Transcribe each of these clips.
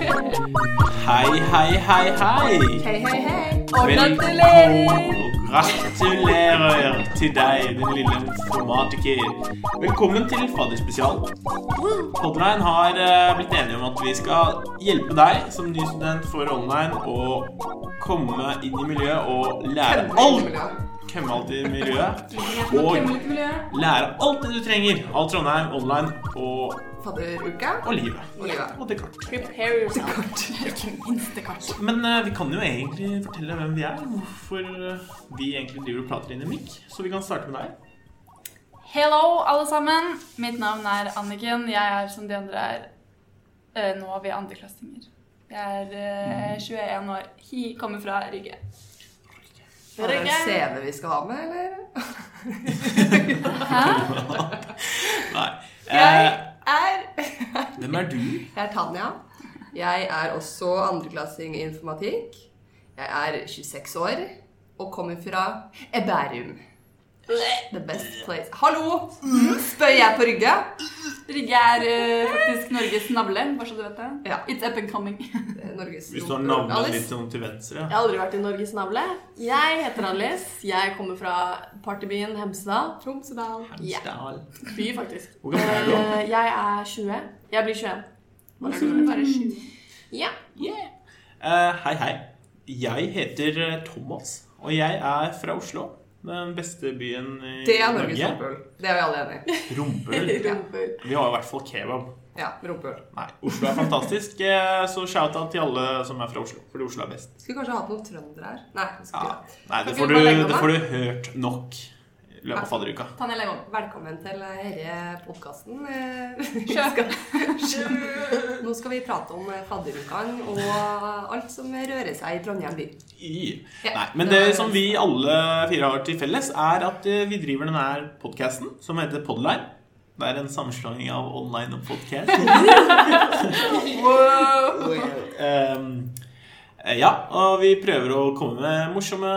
Hei, hei, hei, hei. Hei, hei, hei. Vel- gratulerer. Og gratulerer til deg, den lille formatiker. Velkommen til Fadderspesial. Podline har eh, blitt enige om at vi skal hjelpe deg som ny student for online å komme inn i miljøet og lære alt. Komme alt i miljøet. Og lære alt det du trenger av Trondheim online og, Fadderuka. og livet. Og livet. Og det kart. Prepare yourself. Ikke minst det kanskje. Men eh, vi kan jo egentlig fortelle hvem vi er, hvorfor eh, vi egentlig driver og prater inn i mikk. Så vi kan starte med deg. Hello, alle sammen. Mitt navn er Anniken. Jeg er som de andre er. eh, Nå er vi andreklassinger. Jeg er eh, 21 år. Hi, kommer fra Rygge. Er det en CV vi skal ha med, Eh. eller? Hæ? Nei. Jeg Eh, er hvem er du? Jeg er Tanja. Jeg er også andreklassing i informatikk. Jeg er 26 år og kommer fra Bærum. The best place. Hallo! Spør jeg på Rygge? Rygge er eh, faktisk Norges navle, bare så du vet det. Ja. It's up and coming. Jeg Norges Hvis du har navnet Alice. litt sånn til venstre. Jeg har aldri vært i Norges navle. Jeg heter Alice. Jeg kommer fra partybyen Hemsedal. Tromsødal. Ja, Hamsdal. by, faktisk. Hvor gammel er du? da? Eh, Jeg er 20. Jeg blir 21. Hva er er det? Bare sju. Ja. Eh, hei, hei. Jeg heter eh, Thomas, og jeg er fra Oslo. Den beste byen i Det er Norges rumpehull. Det er vi alle enige i. Rumpel. Rumpel. Vi har i hvert fall kebab. Ja, rumpehull. Nei, Oslo er fantastisk, eh, så shout-out til alle som er fra Oslo, fordi Oslo er best. Skulle kanskje hatt noen trøndere her. Nei. Ja. vi skulle ikke det. Nei, det får, Kan vi du, bare legge det om, får du hørt nok i løpet av fadderuka. Tanja Legom. Velkommen til herre podkasten. Sjø. Nå skal vi prate om fadderukene og alt som rører seg i Trondheim by. I. Ja. Nei, men det som vi alle fire har til felles, er at eh, vi driver denne her podcasten som heter Podline. Det er en sammenslåing av online og podcast. Ehm, eh, ja, og vi prøver å komme med morsomme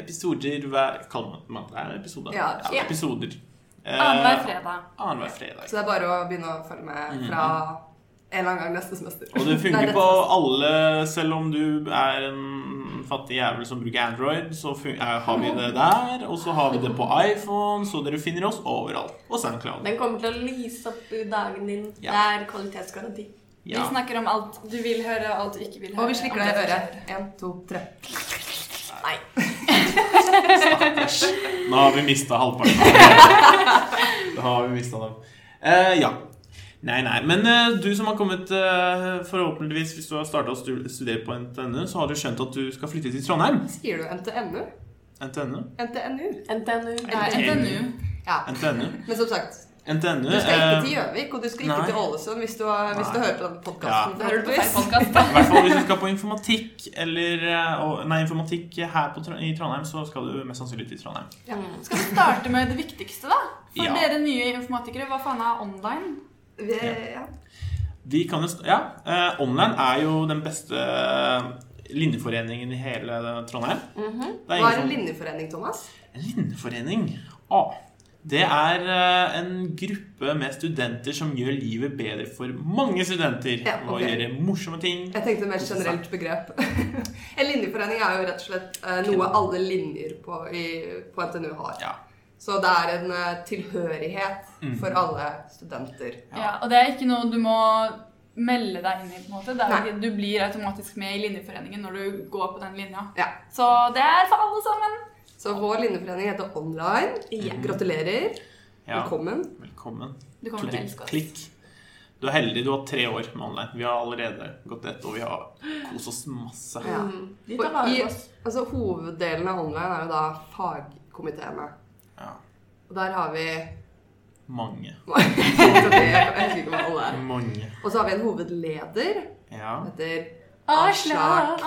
episoder hver Kaller man det er episoder? Ja. ja episoder. Eh, Annenhver fredag. Annenhver fredag. Så det er bare å begynne å følge med fra en eller annen gang neste semester. Mhm. Og det Nei, funker dette på semester. alle, selv om du er en fattig jævel som bruker Android, så fun- er, har vi det der. Og så har vi det på iPhone, så dere finner oss overalt. Og SoundCloud. Den kommer til å lyse opp i dagen din. Ja. Det er kvalitetsgaranti. Ja. Vi snakker om alt du vil høre, og alt du ikke vil høre. Og vi slikker deg i øret. Én, to, tre. Nei. Nå har vi mista halvparten. av dem. Da har vi mistet dem. Eh, ja. Nei, nei. Men eh, du som har kommet, eh, forhåpentligvis, hvis du har starta å stu- studere på NTNU, så har du skjønt at du skal flytte til Trondheim. Sier du NTNU? NTNU. NTNU. NTNU. Det er NTNU. Ja. NTNU. Men som sagt, NTNU du skal ikke eh, til Gjøvik, og du skal ikke nei. til Ålesund hvis du, har- hvis du Nei. hører på denne podkasten. Ja. Da hører du på feil forhåpentligvis. podcast. I hvert fall hvis du skal på informatikk eller eh, og- Nei, informatikk her på, Tr- i Trondheim, så skal du mest sannsynlig til Trondheim. Skal vi starte med det viktigste, da? For Ja. dere nye informatikere, hva faen er online? Vi, ja. Vi kan jo st- Ja. eh, Online er jo den beste eh, linjeforeningen i hele Trondheim. Det Mhm. Hva ingen er en som- linjeforening, Thomas? En linjeforening? Ah, det er eh, en gruppe med studenter som gjør livet bedre for mange studenter. Ja, Og ok. gjør morsomme ting. Jeg tenkte mer generelt begrep. en linjeforening er jo rett og slett eh, noe alle linjer på, i, på NTNU har. Ja. Mm. Så det er en eh, tilhørighet for alle studenter. Ja. Og det er ikke noe du må melde deg inn i, på en måte. Det er, Nei. ikke- du blir automatisk med i linjeforeningen når du går på den linja. Ja. Så det er for alle sammen. Så vår linjeforening heter Online. Gratulerer. Ja, Velkommen. Velkommen. Du kommer til å Klikk, elske oss. Klikk. Du er heldig. Du har tre år med online. Vi har allerede gått ett, og vi har kost oss masse. Ja. De Mm. tar Og vare i, på oss. altså, hoveddelen av Online er jo da fagkomiteene. Ja. Og der har vi Mange. Jeg husker ikke hva alle er. Mange. Og så har vi en hovedleder. Ja. som heter Avslag!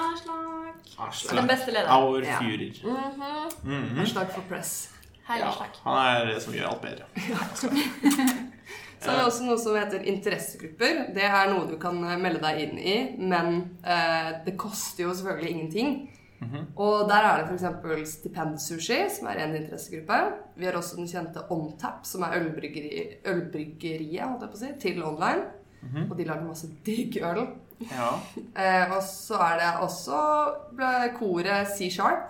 Avslag. Den beste lederen. Our Ja. Mm. Führer. Mhm. Hashtag for press. Herre Ja, slag. han er det som gjør alt bedre. Så er det også noe som heter interessegrupper. Det er noe du kan eh, melde deg inn i, men eh, det koster jo selvfølgelig ingenting. Og der er det f.eks. Stipendsushi, som er en interessegruppe. Vi har også den kjente OnTap, som er ølbryggeri, ølbryggeriet holdt jeg på å si, til online. Og de lager masse digg øl. Ja. Eh, og så er det også ble- koret C-sharp.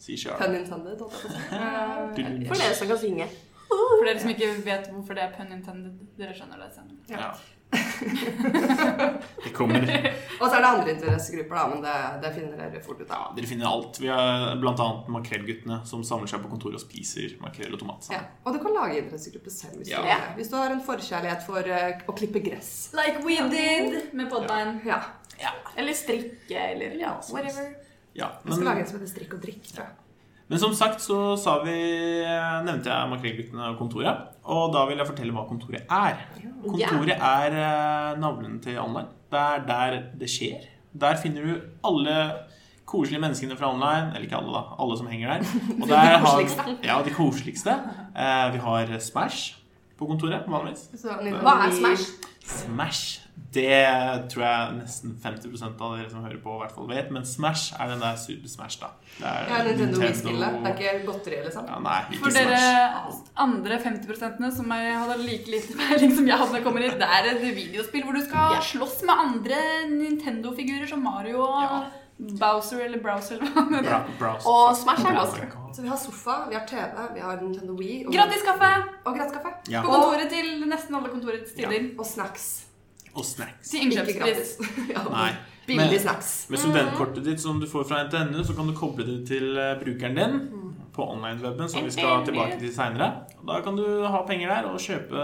Si sjøl. Pun intended, holdt jeg på å si. Eh, For dere som kan synge. For dere som ikke vet hvorfor det er pun intended, dere skjønner det senere. Ja. Det kommer. Og så er det andre interessegrupper, da, men det, det finner dere fort ut av. Dere finner alt. Vi har blant annet makrellguttene som samler seg på kontoret og spiser makrell og tomat Ja. sammen. Og du kan lage interessegrupper selv hvis, Ja. du vil det. hvis du har en forkjærlighet for eh, å klippe gress. Like we did. Med podbine. Ja. Eller strikke, eller ja, whatever. Ja, Vi skal men, lage en som heter Strikk og drikk, tror jeg. men som sagt så sa vi, eh, nevnte jeg makrellguttene og kontoret. Og da vil jeg fortelle hva kontoret er. Kontoret er eh, navlen til online. Det er der det skjer. Der finner du alle koselige menneskene fra online. Eller ikke alle, da. Alle som henger der. Og der har, koseligste. ja, de koseligste. Eh, vi har Smash på kontoret vanligvis. Så, en liten- Hva er Smash? Smash, det tror jeg nesten 50 av dere som hører på, i hvert fall vet. Men Smash er den der Super Smash, da. Det er Ja, Nintendo Wii-spillet. Det er ikke godteri, liksom. ja, Nei, ikke For Smash. dere andre 50 som er, hadde like lite peiling som jeg hadde når jeg kommer hit, det er et videospill hvor du skal Ja. slåss med andre Nintendo-figurer som Mario og Ja. Bowser eller Browser eller hva det heter. Bra, browse. Og Smash er godt. Så vi har sofa, vi har TV, vi har Nintendo Wii og, Gratis kaffe og grattkaffe. Ja. på kontoret til nesten alle kontorets stiller. Og snacks. Og snacks. Til Ikke gratis. innkjøpspris. ja, Nei. Billig snacks. Med studentkortet ditt som du får fra NTNU, så kan du koble det til eh, brukeren din på online-weben, som vi skal NTNU. tilbake til seinere. Da kan du ha penger der og kjøpe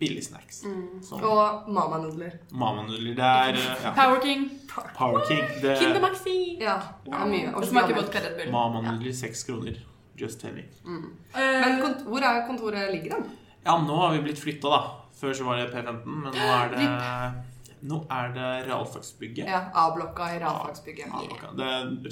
billig snacks. Mm. Som Og mamanudler. mamanudler. Det er eh, ja, Power King. Power King. Det Kinder Maxi. Ja, det er mye. Det Og smaker sjokolade. vodka Red Bull. mamanudler seks kroner. Just telling. Eh, Men kont hvor er kontoret ligger den? Ja, nå har vi blitt flytta, da. Før så var det P15, men nå er det Nå er det realfagsbygget. Ja, A-blokka i Radfagsbygget. Ja, Yeah. Det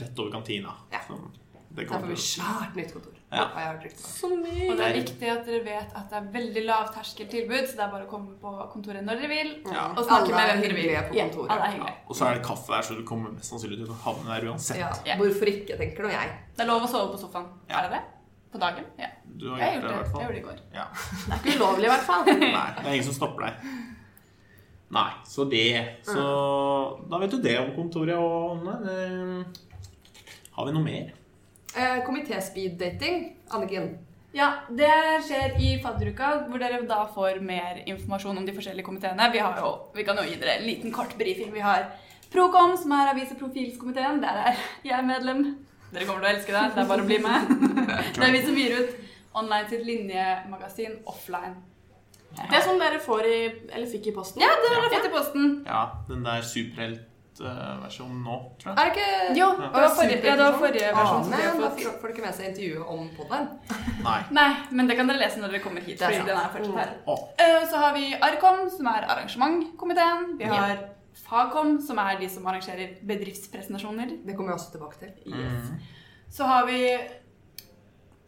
er rett over kantina. Ja. Så det Der får kommer vi til svært nytt kontor. Ja. Og jeg har trykt meg. Så mye. og det er viktig at dere vet at det er veldig lavterskeltilbud, så det er bare å komme på kontoret når dere vil. å- ja. Og snakke Alle med er hvem dere vil. hyggelige på Ja, kontoret. Alle er hyggelige. Og så er det kaffe der, så du kommer mest sannsynlig til å havne der uansett. Ja. Ja. Hvorfor ikke, tenker nå jeg. Det er lov å sove på sofaen. Ja. Er det det? På dagen? Ja. Du har Jeg gjort det, i gjorde det. hvert Jeg gjorde fall. det i går. Ja. Det er ikke ulovlig, i hvert fall. Nei, det er ingen som stopper deg. Nei, så det Så da vet du det om kontoret og Anne. Eh, Har vi noe mer? Eh, Komité-speeddating, Anniken. Ja, det skjer i fadderuka, hvor dere da får mer informasjon om de forskjellige komiteene. Vi, har jo, vi kan jo gi dere en liten kort brifing. Vi har Procom, som er avise- og profilskomiteen. Der er jeg medlem. Dere kommer til å elske det. Det er bare å bli med. Det er vi som gir ut online sitt linjemagasin offline. Det som dere får i, eller fikk i posten. Ja, dere har fått i posten. Ja, den der superheltversjonen nå, tror jeg. Er det ikke Jo, det var forrige, ja, det var forrige versjon. som dere men da har fått. får får dere med seg intervjuet om podden. Nei. Nei, men det kan dere lese når dere kommer hit. Det er fordi sant. den er fortsatt her. Å, Eh, Så har vi Arkom, som er arrangementkomiteen. Vi har Fagkom, som er de som arrangerer bedriftspresentasjoner. Det kommer jeg også tilbake til. Yes. Så har vi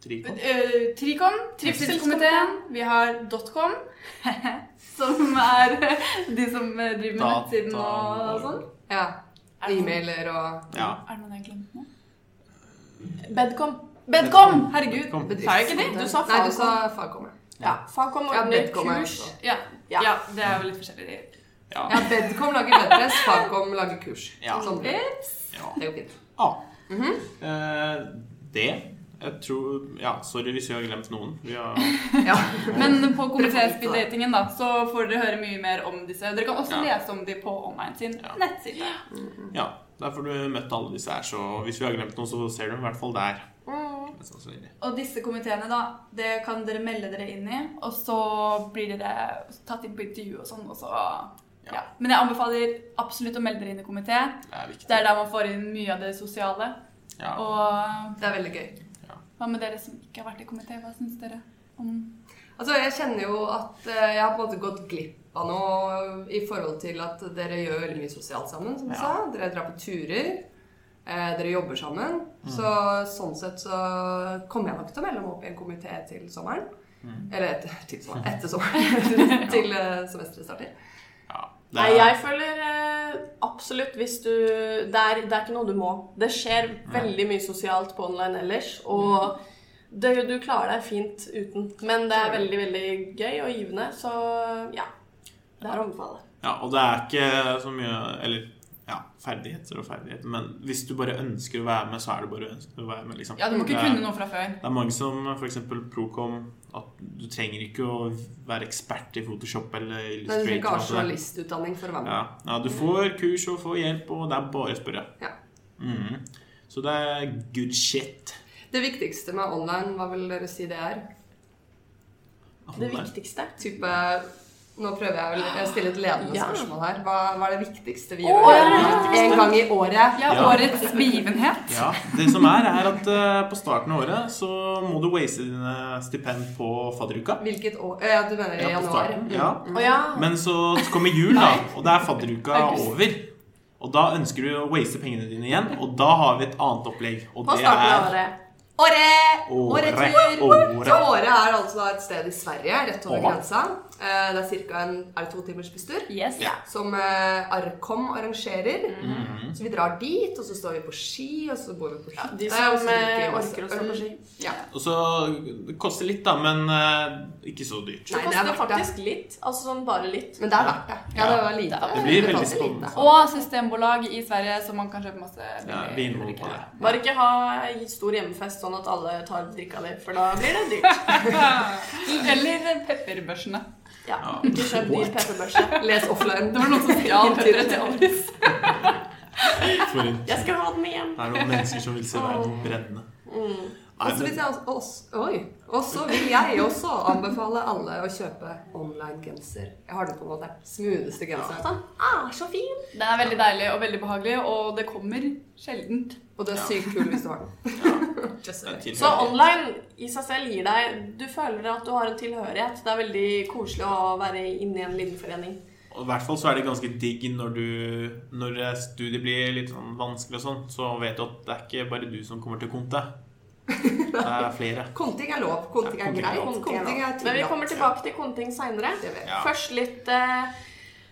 Trikot. eh, Trikom, trivselskomiteen. Vi har Dotcom, som er de som eh, driver med Data- nettsiden og sånn. Ja, Er det- E-mailer og Ja. Er det noen jeg glemte nå? Bedcom. Bedcom! Herregud. Kom. Sa jeg ikke det? Du sa Nei, du fagkom. sa fagkommer. Ja, fagkom Ja, ordner bedkom er kurs. også. Ja. Ja. ja, det er jo litt forskjellig. Ja. Ja, bedkom lager bedpress, fagkom lager kurs. Ja. Sånn. Det ja. går fint. Ah. eh, det Jeg tror Ja, sorry hvis vi har glemt noen. Vi har, Ja. Men på komitéspilldatingen da, så får dere høre mye mer om disse. Dere kan også Ja. lese om de på online sin Ja. nettside. ja, der får du møtt alle disse her, så hvis vi har glemt noen, så ser du dem i hvert fall der. Mest sannsynlig. Og disse komiteene da, det kan dere melde dere inn i, og så blir dere tatt inn på intervju og sånn, og så... Ja. Ja. Men jeg anbefaler absolutt å melde dere inn i komité. Det er viktig. Det er der man får inn mye av det sosiale. Ja. Og Det er veldig gøy. hva med dere som ikke har vært i komité? Hva synes dere om... Altså, jeg kjenner jo at eh, jeg har på en måte gått glipp av noe i forhold til at dere gjør veldig mye sosialt sammen, som du Ja. sa. Dere drar på turer. Eh, dere jobber sammen. Mm. Så sånn sett så kommer jeg nok til å melde meg opp i en komité til Mm. sommeren. Eller etter, til sommeren. Etter sommeren. til eh, semesteret starter. ja. Det Nei, er- jeg føler eh, absolutt hvis du det er, det er ikke noe du må. Det skjer veldig mye sosialt på online ellers, Mm. og det, du klarer deg fint uten. Men det er veldig, veldig gøy og givende, så ja. Det er å anbefale. Ja, og det er ikke så mye Eller ja, ferdigheter og ferdigheter, men hvis du bare ønsker å være med, så er det bare å ønske å være med, liksom. Ja, Du må Det ikke er- kunne noe fra før. Det er mange som f.eks. Procom at du trenger ikke å være ekspert i Photoshop eller Men du trenger Illustrator. og ikke ha alt det der. journalistutdanning for å være med. altså. Ja. ja, du får kurs og får hjelp, og det er bare å spørre. Ja. Mhm. Så det er good shit. Det viktigste med online, hva vil dere si det er? Det viktigste. Type Nå prøver jeg vel å stille et ledende Ja. spørsmål her. Hva, hva er det viktigste vi Å, gjør ja. en gang i året? Ja, Ja. Årets begivenhet. Ja, Det som er, er at eh, på starten av året så må du waste dine stipend på fadderuka. Hvilket år? Ja, du mener i Ja, på januar? starten. Mm. Ja. Å ja. Men så kommer jul, da, og da er fadderuka August. over. Og da ønsker du å waste pengene dine igjen, og da har vi et annet opplegg. Og På det starten av er året. Året! Året. Åretur! Året. Så året er altså da et sted i Sverige, rett over Året. grensa. Eh, Det er cirka en Er det to timers busstur? Yes. Ja. Som eh, Arkom arrangerer. Mhm. Så vi drar dit, og så står vi på ski, og så bor vi på hytta. De og så som drikker vi eh, masse orker å stå øl. på ski. Ja. Og så Det koster litt, da, men eh, ikke så dyrt. Det Nei, det er koster verdt det. faktisk litt. Altså sånn bare litt. Men det er verdt det. Ja, det var lite. Det blir betalte veldig spennende. lite. Og systembolag i Sverige, så man kan kjøpe masse Ja, billig Vinmonopol. drikke. på det. Bare ikke ha stor hjemmefest sånn at alle tar drikka di, for da blir det dyrt. Eller pepperbørsene. Ja. Ja. Ikke kjøp ny pepperbørse. Les offline. Det var noen som stjal pepperet til Alice. For en- Jeg skal ha den med hjem. Det er noen mennesker som vil se verden brenne. Mm. Nei, Og så vil men, Altså, jeg også, også, oi. Og så vil jeg også anbefale alle å kjøpe online-genser. Jeg har den på nå. Det er den smootheste genseren. Den er så fin. Den er veldig deilig og veldig behagelig, og det kommer sjeldent. Og det er sykt kul hvis du har den. Just det er saying. tilhørt. Så online i seg selv gir deg Du føler at du har en tilhørighet. Det er veldig koselig å være inne i en linjeforening. Og I hvert fall så er det ganske digg når, du, når studiet blir litt sånn vanskelig og sånn, så vet du at det er ikke bare du som kommer til Konte. Det er flere. Konting er lov. Konting Ja, er konting er greit. lov. Konting er Men vi tillatt. kommer tilbake til konting seinere. Det vet jeg. Ja. Først litt eh,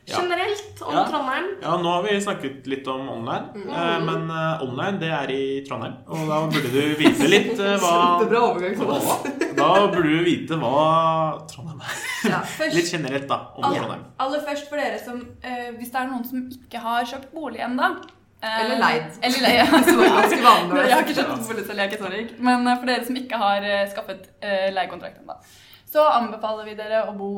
Ja. generelt om Ja. Trondheim. Ja, nå har vi snakket litt om online, Mm. eh, men eh, online det er i Trondheim. Og da burde du vite litt eh, hva Kjempebra overgang, Thomas. Da burde du vite hva Trondheim er. Ja. Litt generelt, da, om Alle- Trondheim. Aller først for dere som eh, Hvis det er noen som ikke har kjøpt bolig ennå eh, Eller leid. Eller leid. Sorry, Det er ganske vanlig. jeg har ikke kjøpt bolig selv, jeg er ikke så rik. Men eh, for dere som ikke har eh, skaffet eh, leiekontrakt ennå, så anbefaler vi dere å bo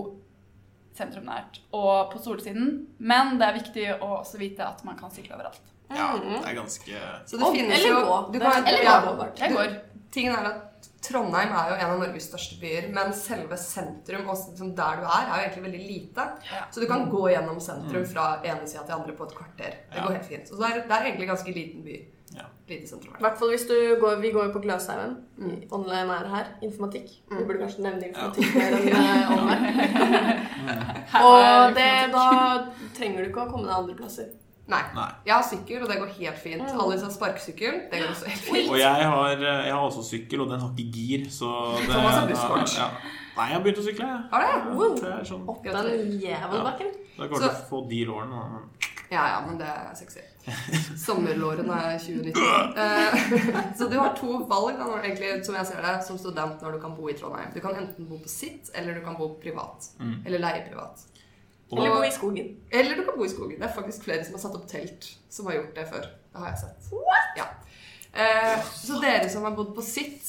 sentrumnært og på solsiden. Men det er viktig å også vite at man kan sykle overalt. Ja, Mm. Mhm. det er ganske Så det finnes Eller jo gå. du kan- Eller ja. gå. Det går. Tingen er at Trondheim er jo en av Norges største byer, men selve sentrum og liksom der du er, er jo egentlig veldig lite. Ja. Så du kan gå gjennom sentrum fra ene sida til andre på et kvarter. Det Ja. går helt fint. Så det er, det er egentlig ganske liten by. Ja. Lite sentrum. I hvert fall hvis du går, Vi går jo på Gløshaugen. Online er her. Informatikk. Vi burde kanskje nevne informatikk mer enn eh, online. Her er Og liksom- det, da trenger du ikke å komme deg andre plasser. Nei. Nei. Jeg har sykkel, og det går helt fint. Alice har sparkesykkel. Det går også helt fint. Og jeg har, jeg har også sykkel, og den har ikke gir, så det, Thomas har busskort. Ja. Nei, jeg har begynt å sykle. jeg. Har du? Ja, Wow. det er sånn. Opp den jævelbakken. Da går det å få de lårene. da, men- Ja, ja, men det er sexy. Sommerlårene er 2019. Eh, så du har to valg da, når, egentlig, som jeg ser det, som student når du kan bo i Trondheim. Du kan enten bo på sitt, eller du kan bo privat. Eller leie privat. Eller Og, gå i skogen. Eller du kan bo i skogen. Det er faktisk flere som har satt opp telt, som har gjort det før. Det har jeg sett. Ja. Eh, så dere som har bodd på sitt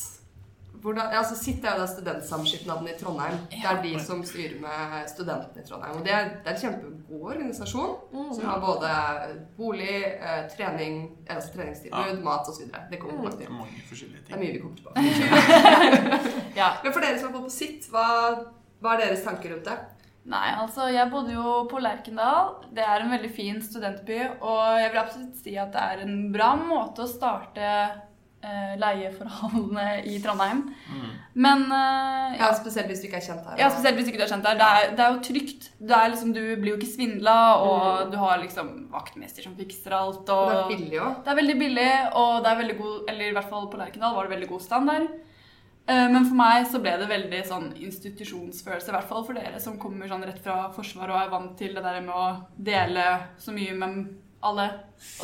hvordan, ja, altså Sitt er jo da studentsamskipnaden i Trondheim. Det er de som styrer med studentene i Trondheim. Og det er, det er en kjempegod organisasjon Mm. som har både bolig, eh, trening, eh, altså treningstilbud, mat osv. Det kommer vi tilbake det til. er mange forskjellige Det ting. er mye vi kommer tilbake til. ja. Men for dere som har bodd på sitt, hva, hva er deres tanker rundt det? Nei, altså jeg bodde jo på Lerkendal. Det er en veldig fin studentby, og jeg vil absolutt si at det er en bra måte å starte eh, leieforholdene i Trondheim. Men eh, Ja, Spesielt hvis du ikke er kjent her. ja, spesielt hvis ikke du er kjent der. Det er, det er jo trygt. Det er liksom, du blir jo ikke svindla, og du har liksom vaktmester som fikser alt. Og Og det er billig òg. det er veldig billig, og det er veldig god Eller i hvert fall på Lerkendal var det veldig god standard. Eh, Men for meg så ble det veldig sånn institusjonsfølelse, i hvert fall for dere som kommer sånn rett fra Forsvaret og er vant til det der med å dele så mye med alle,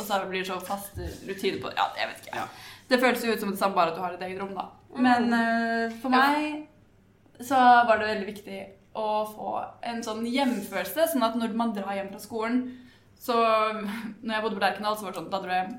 og så blir det så fast rutine på Ja, jeg vet ikke. Ja. Det føles jo ut som det samme, bare at du har et eget rom, da. Men eh, for meg så var det veldig viktig å få en sånn hjemfølelse, sånn at når man drar hjem fra skolen Så når jeg bodde på Lerkendal, så var det sånn, da dro jeg hjem.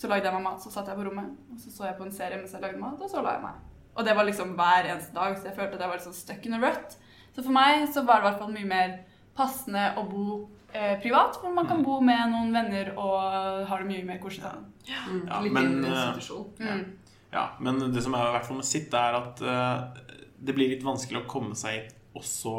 Så lagde jeg meg mat, så satt jeg på rommet, og så så jeg på en serie mens jeg lagde mat, og så la jeg meg. Og det var liksom hver eneste dag, så jeg følte at jeg var liksom stuck in a rut. Så for meg så var det i hvert fall mye mer passende å bo eh, privat, hvor man Mm. kan bo med noen venner og har det mye mer koselig. Mm, Ja, litt men, mindre eh, institusjon. Mm. Ja, men det som er i hvert fall med sitt, er at eh, det blir litt vanskelig å komme seg inn også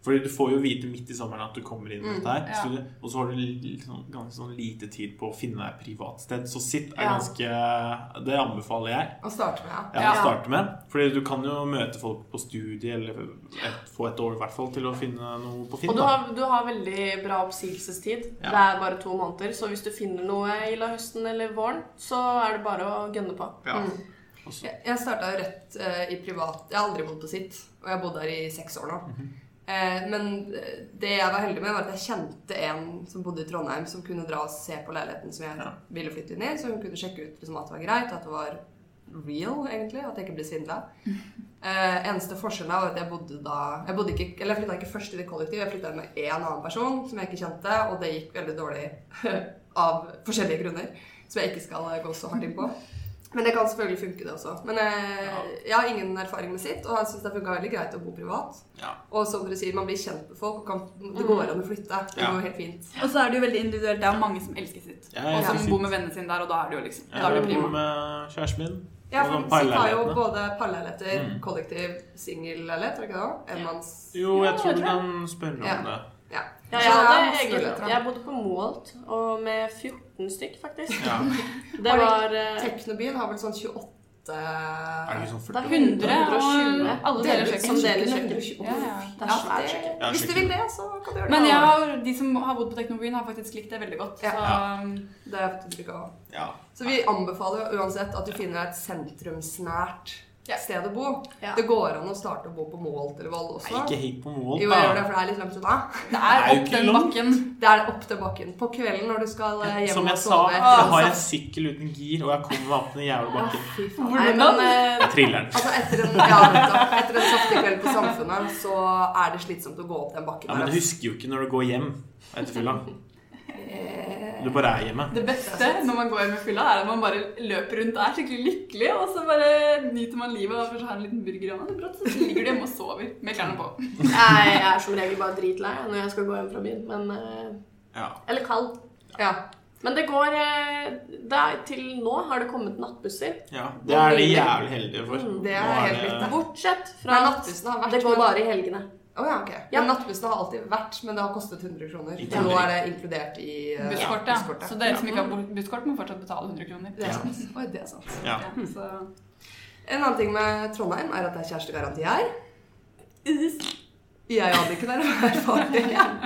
Fordi du får jo vite midt i sommeren at du kommer inn med dette her. ja. så du- Og så har du litt sånn, ganske sånn lite tid på å finne deg et privatsted. Så sitt er Ja. ganske Det anbefaler jeg. Å starte med, ja. Ja, Ja. å starte med. Fordi du kan jo møte folk på studiet, eller et, få et år i hvert fall, til å finne noe på Finn. Og du da. har, du har veldig bra oppsigelsestid. Ja. Det er bare to måneder, så hvis du finner noe i la høsten eller våren, så er det bare å gønne på. Ja. Mm. Og så- Jeg, jeg starta jo rett eh, i privat. Jeg har aldri bodd på sitt, og jeg har bodd her i seks år nå. Mhm. Eh, men eh, det jeg var heldig med, var at jeg kjente en som bodde i Trondheim, som kunne dra og se på leiligheten som jeg Ja. ville flytte inn i. Så hun kunne sjekke ut liksom, at det var greit, at det var real, egentlig. At jeg ikke ble svindla. Eh, eneste forskjellen er at jeg bodde da Jeg, bodde ikke, eller jeg flytta ikke først i det kollektiv, jeg flytta med én annen person som jeg ikke kjente, og det gikk veldig dårlig av forskjellige grunner, som jeg ikke skal eh, gå så hardt inn på. Men det kan selvfølgelig funke, det også. Men eh, jeg har ingen erfaring med sitt, og jeg syns det funka veldig greit å bo privat. Ja. Og som dere sier, man blir kjent med folk, og kan, Mm. det går an å flytte. Det Ja. går helt fint. Og så er det jo veldig individuelt. Det er mange som elsker sitt. Ja, jeg og som elsker sitt. bor med vennene sine der, og da er det jo liksom da er det Jeg Eh, bor prima. med kjæresten min. Ja, og for de sitt har jo parleilighetene. både parleiligheter, Mm. kollektiv, singelleilighet, er det ikke det òg? Enmanns Jo, jeg Ja, tror jeg du tror kan spørre om Ja. det. Ja. Ja, Så jeg, det er hadde masse muligheter, egen, da. jeg bodde på Moholt, og med 14 stykk, faktisk. Ja. Det var eh, Teknobyen har vel sånn 28 Er det ikke sånn Det er 40? 100 120. og alle deler Deler ut liksom kjøkken. som deler kjøkken. Ja, ja. Det sånn er Ja, svært det- kjøkken. Ja, Hvis du kjøkken. vil det, så kan du gjøre det. Men jeg har, de som har bodd på Teknobyen, har faktisk likt det veldig godt. Ja. Så um, Ja. Det er faktisk ikke å- Ja. Så vi anbefaler jo uansett at du finner et sentrumsnært Ja. sted å bo. Ja. Det går an å starte å bo på Moholt eller Nei, Voll også. ikke hit på Moholt, jo, jeg gjør det, for det er litt langt unna. det Det er er jo opp ikke den langt. bakken. Det er opp til bakken. På kvelden når du skal eh, hjem Som jeg og sa, sove. jeg har en sykkel uten gir, og jeg kommer meg opp den jævla bakken. Fy faen. Nei, men eh, Jeg triller den. Altså etter en, ja, nettopp. etter en saftig kveld på Samfunnet, så er det slitsomt å gå opp den bakken. Ja, men du der, altså. husker jo ikke når du går hjem etter fylla. altså. Du bare er hjemme. Det beste når man går med fylla, er at man bare løper rundt og er skikkelig lykkelig, og så bare nyter man livet og først har en liten burger i hånda, og brått så ligger du hjemme og sover med klærne på. jeg er som regel bare dritlei når jeg skal gå hjem fra byen, men eh, Ja. Eller kald. Ja. Men det går eh, det er, Til nå har det kommet nattbusser. ja. Mm, Det er de jævlig heldige for. Det er Nå helt likt, Bortsett fra Nei, at nattbussene har vært sånn- det går bare i helgene. Å ja, ok. Ja. Men nattbussene har alltid vært, men det har kostet 100 kroner. I Og nå er det inkludert i eh, Busskortet. busskortet. Så dere liksom som ikke har busskort, må fortsatt betale 100 kroner. Det er sant. Oi, det er sant. Ja. Ja, så... En annen ting med Trondheim er at det er kjærestegaranti her. Jeg hadde ikke den erfaringen.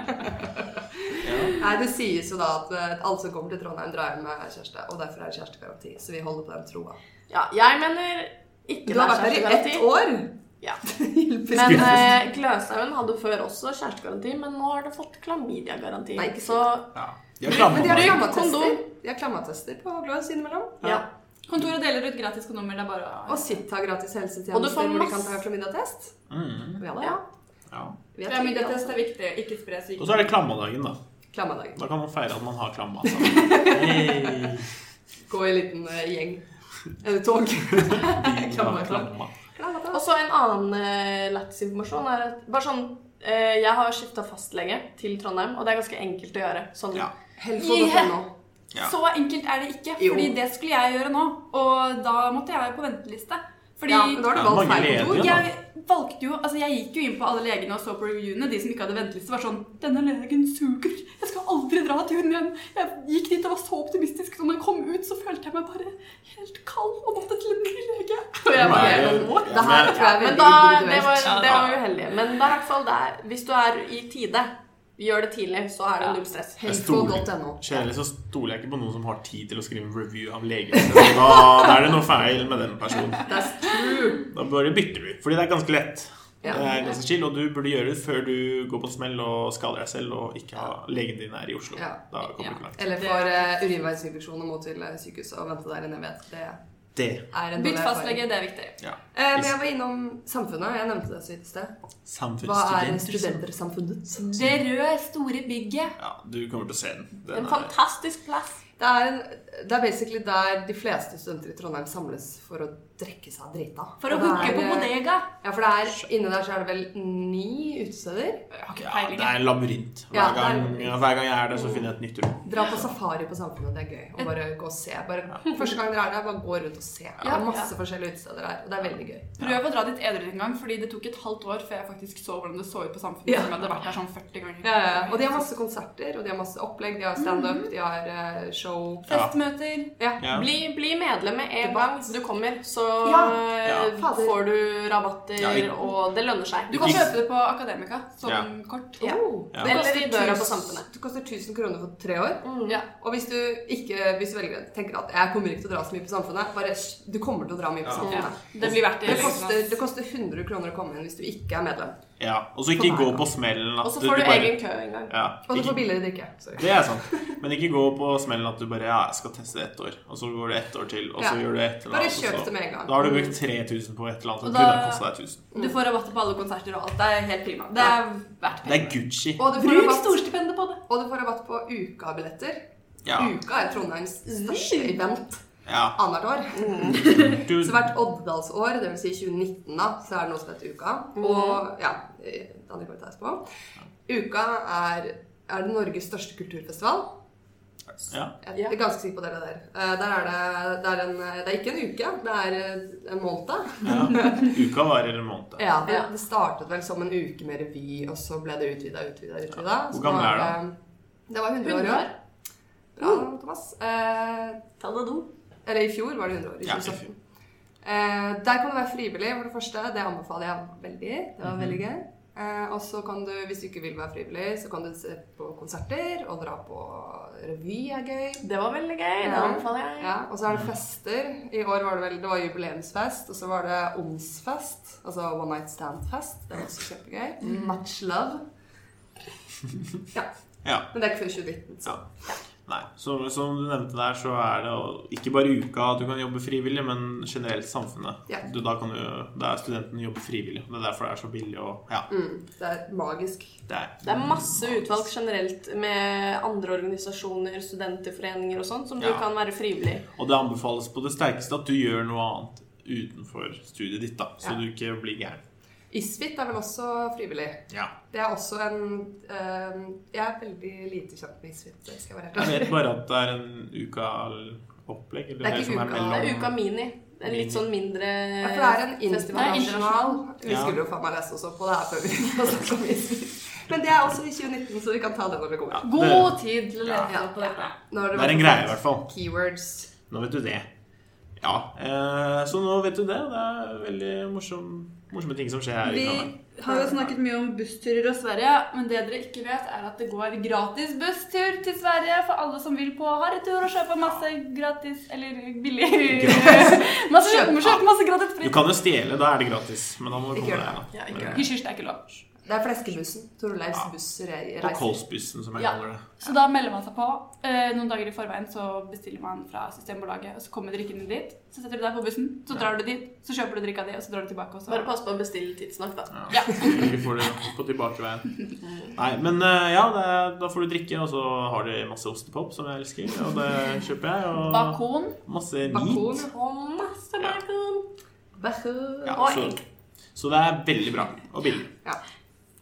Nei, det sies jo da at eh, alle som kommer til Trondheim, drar hjem med kjæreste. Og derfor er det kjærestegaranti. Så vi holder på den troa. Ja, jeg mener ikke Du har vært her i ett år! Ja. Hjelper Men ikke. eh, Gløshaugen hadde før også kjærestegaranti, men nå har det fått klamydiagaranti. Nei, ikke Så ja. De har klamma Men de har meg. klammatester. kondom. De har klammatester på Gløs innimellom. ja. Kontoret deler ut gratis kondomer, det er bare å Og sitt har gratis helsetjenester Og du får hvor de kan masse- ta klamydiatest. Mm, Ja da. Ja. ja. Vi er trygge, altså. Klamydiatest er viktig. Ikke spre Og syke. så er det klammadagen, da. Klammadag. Da kan man feire at man har klamma. sammen. Hey. Gå i en liten eh, gjeng. Eller tog. Byen har klamma. Klammatest. Og så en annen eh, lættis informasjon er at bare sånn eh, Jeg har skifta fastlege til Trondheim, og det er ganske enkelt å gjøre. Sånn. Ja. Helfo.no. Ja. Så enkelt er det ikke. Jo. Fordi det skulle jeg gjøre nå. Og da måtte jeg på venteliste. Fordi Ja, men da har Ja, du valgt mange feil kontor. ledige, da. jeg valgte jo Altså, jeg gikk jo inn på alle legene og så på reviewene. De som ikke hadde venteliste, var sånn 'Denne legen suger. Jeg skal aldri dra til hun igjen.' Jeg gikk dit og var så optimistisk. Så når jeg kom ut, så følte jeg meg bare helt kald og måtte til en ny lege. Og jeg bare, Nei, Det her tror jeg er Men veldig da, det individuelt. var, det var uheldig. Men det er i hvert fall der, hvis du er i tide, Gjør det tidlig, så er det null stress. Jeg stoler- Helfo.no. Kjedelig så stoler jeg ikke på noen som har tid til å skrive en review av legemidler. Da, da er det noe feil med den personen. That's true. Da bare bytter du. Fordi det er ganske lett. Ja. Det er ganske chill, og du burde gjøre det før du går på smell og skader deg selv og ikke ha legen din er i Oslo. Ja. Da kommer du ikke langt. Eller får eh, urinveisinfeksjon og må til eh, sykehuset og vente der en evighet. Det er Det. en dårlig Bytt erfaring. fastlege, det er viktig. Ja. Eh, Men jeg var innom samfunnet. Jeg nevnte det så vidt i sted. Hva er Samfunnsstudenter. studentersamfunnet? Det røde, store bygget. Ja, du kommer til å se den. En den er, fantastisk plass. Det er, en, det er basically der de fleste studenter i Trondheim samles for å drikke seg drita. For å Og det hooke er, på eh, bodega. Ja, for det er, inne der så er det vel ni utesteder. Jeg har ikke ja, det peiling. er en labyrint. Ja, Hver det er en gang, ja, hver gang jeg er der, så finner jeg et nytt rom. Dra på safari på Samfunnet, det er gøy. Og bare gå og se. Bare, første gang dere er der, bare gå rundt og se. Det er masse forskjellige utesteder her, og det er veldig gøy. Prøv å dra dit edru en gang, fordi det tok et halvt år før jeg faktisk så hvordan det så ut på samfunnet. Ja. Som jeg hadde vært der sånn 40 ganger. Og de har masse konserter, og de har masse opplegg, de har Mhm. standup, de har eh, show. Festmøter. Ja. Ja. Bli, bli medlem med en gang du kommer, så Ja. eh, Ja. får du rabatter, Ja, vi- og det lønner seg. Du kan Ikke- kjøpe det på Akademika som Ja. kort. Ja. Oh, Ja. det Eller i koster døra på tusen- Samfunnet. Det koster 1000 kroner for tre år. Mm, Ja. Og hvis du, ikke, hvis du velger, tenker at jeg kommer ikke til å dra så mye på Samfunnet, bare sh- du kommer til å dra mye på Ja. Samfunnet. Ja. Det blir verdt det. Det koster, det koster 100 kroner å komme inn hvis du ikke er medlem. Ja, og så ikke For hver gå gang. på smellen at Og så får du bare- egen kø en gang. Ja, Og du ikke- får billigere drikke. Sorry. Det er sant. Men ikke gå på smellen at du bare ja, jeg skal teste ett år, og så går det ett år til, og så Ja. gjør du et eller Bare annet. og kjøp så- det med en gang. Da har du brukt 3000 på et eller annet, Og og da- kunne det kosta deg 1000. Du får rabatter på alle konserter og alt. Det er helt prima. Det er verdt Det er pengene. Gucci. Og du får Bruk rabatt, storstipendet på det. og du får rabatt på ukabilletter. Ja. Uka er Trondheims største event ja. annethvert år. Du, Så hvert Oddedalsår, dvs. Si 2019, da, så er det noe som heter Uka. Og ja, eh, Danny kommer til å ta oss på. Uka er, er det Norges største kulturfestival. ja. Jeg er ganske sikker på dere der. Eh, Der er det, det, er en, eh, det er ikke en uke, det er eh, en måned. ja. Uka varer en måned. Ja, det, det startet vel som en uke med revy, og så ble det utvida, utvida, utvida. Hvor gammel er det? Det var 100 år i år. Mm. Bra, Thomas. Eh, Ta det do. eller i fjor var det 100 år. I Ja, i 2017. Eh, der kan du være frivillig, for det første. Det anbefaler jeg veldig. Det Mhm. var veldig gøy. Eh, og så kan du, hvis du ikke vil være frivillig, så kan du se på konserter og dra på revy er gøy. Det var veldig gøy. Det Ja. anbefaler jeg. Ja, og så er det Mhm. fester. I år var det vel det var jubileumsfest, og så var det onsfest. Altså One Night Stand-fest. Det var også kjempegøy. Mhm. Much love. Ja. Ja. Men det er ikke før 2019. Så. Ja. Nei. Så, som du nevnte der, så er det jo ikke bare uka at du kan jobbe frivillig, men generelt samfunnet. Ja. Du, da kan du, da er studenten jobber frivillig. og Det er derfor det er så billig og Ja. Mm, det er magisk. Det er, Det er masse utvalg generelt med andre organisasjoner, studenterforeninger og sånn, som du Ja. kan være frivillig. Og det anbefales på det sterkeste at du gjør noe annet utenfor studiet ditt, da. Så Ja. du ikke blir gæren. Isfit er vel også frivillig. Ja. Det er også en eh, Jeg er veldig lite kjent med Isfit. det Skal jeg være helt Jeg ærlig. vet bare at det er en uka-opplegg. Eller Det er ikke som uka, Det er mellom- Uka Mini. En litt sånn mindre Ja, for det er en festival. internasjonal Vi Ja. skulle jo faen meg lese oss opp på det her før vi snakket om Isfit. Men det er også i 2019, så vi kan ta det når det kommer. Ja, det- God tid til å lese Ja. opp på dette. Nå har Det er en greie, i hvert fall. Keywords. Nå vet du det. Ja, eh, så nå vet du det. Det er veldig morsom, morsomme ting som skjer her. i Vi Trondheim. har jo snakket mye om bussturer og Sverige, men det dere ikke vet, er at det går gratis busstur til Sverige for alle som vil på harretur og kjøpe masse gratis Eller billig masse, Kjøp. Kjøp masse gratis Du fritt. kan jo stjele, da er det gratis. Men da må du Ikke komme gjør deg det. da. Ja, ikke Men- gjør Hysj, hysj, det er ikke lov. Det er Fleskebussen. Torleifs Ja. bussreise. På Kolsbussen, som jeg Ja. kaller det. Så da melder man seg på. Eh, noen dager i forveien så bestiller man fra Systembolaget, og så kommer drikkene dit. Så setter du deg på bussen, så drar du dit, så kjøper du drikka di, og så drar du tilbake. Og så. Bare pass på å bestille tidsnok, da. Ja. Ja. Ikke får det på tilbakeveien. Nei, men eh, ja, det, er- da får du drikke, og så har de masse ostepop, som jeg elsker. Og det kjøper jeg. Og Bakon. masse Bakon. meat. Og masse Ja. bacon. Bakun. Ja, Og så, egg. så det er veldig bra. Og billig. Ja.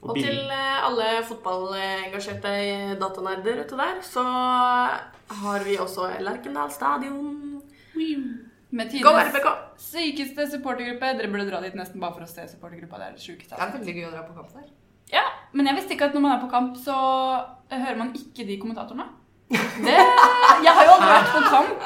Og Og til billig. eh, alle fotballengasjerte datanerder ute der, så har vi også Lerkendal stadion. Med Gå tidenes RBK! sykeste supportergruppe. Dere burde dra dit nesten bare for å se supportergruppa. Det er det sjukeste. altså. Det er veldig gøy å dra på kamp der. Ja, men jeg visste ikke at når man er på kamp, så eh, hører man ikke de kommentatorene. Det, jeg har jo aldri vært på kamp.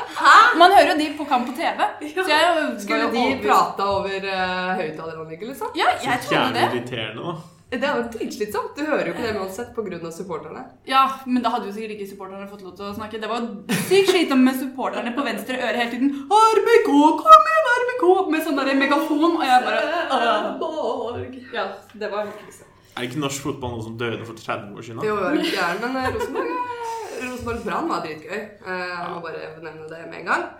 Man hører jo de på kamp på TV. Så jeg Skulle skulle de overbevist- prata over uh, høyttaleranlegget, liksom? Ja, jeg trodde Jævlig det. irriterende, da. Det er jo dritslitsomt. Du hører jo ikke det uansett pga. supporterne. Ja, men da hadde jo sikkert ikke supporterne fått lov til å snakke. Det var jo sykt slitsomt med supporterne på venstre øre hele tiden. RBK, kom igjen, RBK! Med sånn der megafon. Og jeg bare «Åh». Borg. Ja, det var liksom Er det ikke norsk fotball noe som døde for 30 år siden? Jo, jeg er ikke gæren, men eh, Rosenborg eh, Rosenborg Brann var dritgøy. Eh, Jeg må bare nevne det med en gang.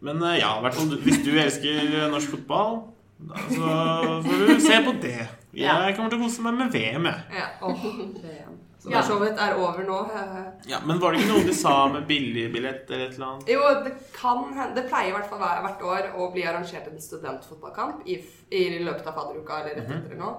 Men eh, ja, i hvert fall hvis du elsker eh, norsk fotball, da, så får du se på det. Jeg kommer til å kose meg med VM, jeg. Ja, og VM. Som Ja. for så vidt er over nå. eh. Ja, men var det ikke noe de sa med billigbillett eller et eller annet? Jo, det kan hende Det pleier i hvert fall hver- hvert år å bli arrangert en studentfotballkamp i, f- i løpet av fadderuka eller Mhm. rett etter nå,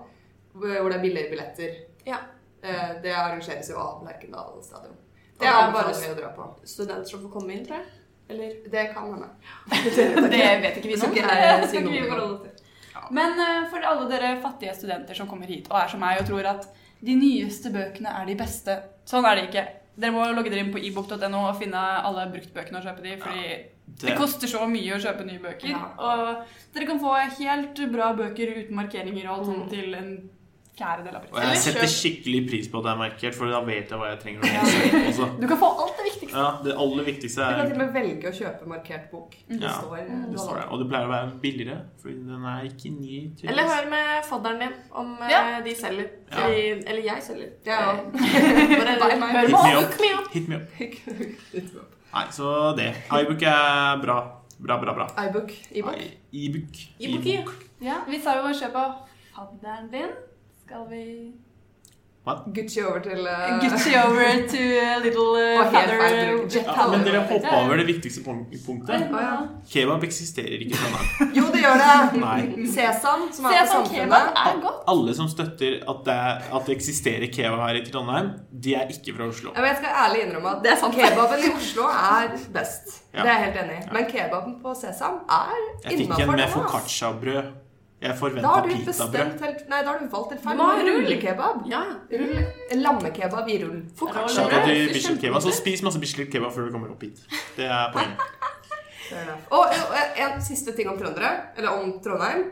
hvor det er billigere billetter. Ja. Eh, Det arrangeres jo av Lerkendal stadion. det Det er er bare bare s- vi å dra på. Studenter som får komme inn, tror jeg. Eller Det kan hende. Det vet ikke vi noe Skal om. ikke jeg Det si skal ikke noe vi om. forholde oss til. Men eh, for alle dere fattige studenter som kommer hit og er som meg og tror at de nyeste bøkene er de beste, sånn er det ikke. Dere må logge dere inn på ebook.no og finne alle bruktbøkene og kjøpe de, fordi det koster så mye å kjøpe nye bøker. Ja. Og dere kan få helt bra bøker uten markeringer og alt sånt til en fjerdedel av Og prisen. jeg Eller setter kjøp. skikkelig pris på at det er markert, for da vet jeg hva jeg trenger å lese. Også. Du kan få alt det viktigste. Ja, det aller viktigste Du kan er til og med velge å kjøpe markert bok. Det Ja, står, det står der. Og det pleier å være billigere, for den er ikke ny. til- Eller hør med fadderen din om eh, Ja. de selger. Ja. Fordi, eller jeg selger. Ja, ja. Bare Bare meg. Hit me hør Hør med up. oss. Mia. Hit me up. Nei, så det. iBook er bra. Bra, bra, bra. iBook. E-book. Nei, E-book. E-book, E-book. Ja, vi sa jo å kjøpe fadderen din. Skal vi Gucci over til eh, Gucci over to little uh, Og helt father feil bruk. jet Ja, men dere hoppa Ja. over det viktigste punk- punktet. Å, ja. Kebab eksisterer ikke i Trondheim. Jo, det gjør det! Nei. Sesam, som er på Sesam kebab Samfunnet. er godt. Alle som støtter at det, er, at det eksisterer kebab her i Trondheim, de er ikke fra Oslo. Ja, men jeg skal ærlig innrømme at kebaben i Oslo er best. Ja. Det er jeg helt enig i. Men kebaben på Sesam er Jeg fikk en innafor med den. ass. foccaccia-brød. Jeg Da forventa har du pitabrød. bestemt helt Nei, da har du valgt helt feil. Du må ha rull. Rullekebab. Ja. Rull. Lammekebab i rull. Foccaccia. Shout out Det til høres Bislett Kebab. Så kjempegodt ut. spis masse Bislett Kebab før du kommer opp hit. Det er poenget. Og og en siste ting om trøndere, eller om Trondheim.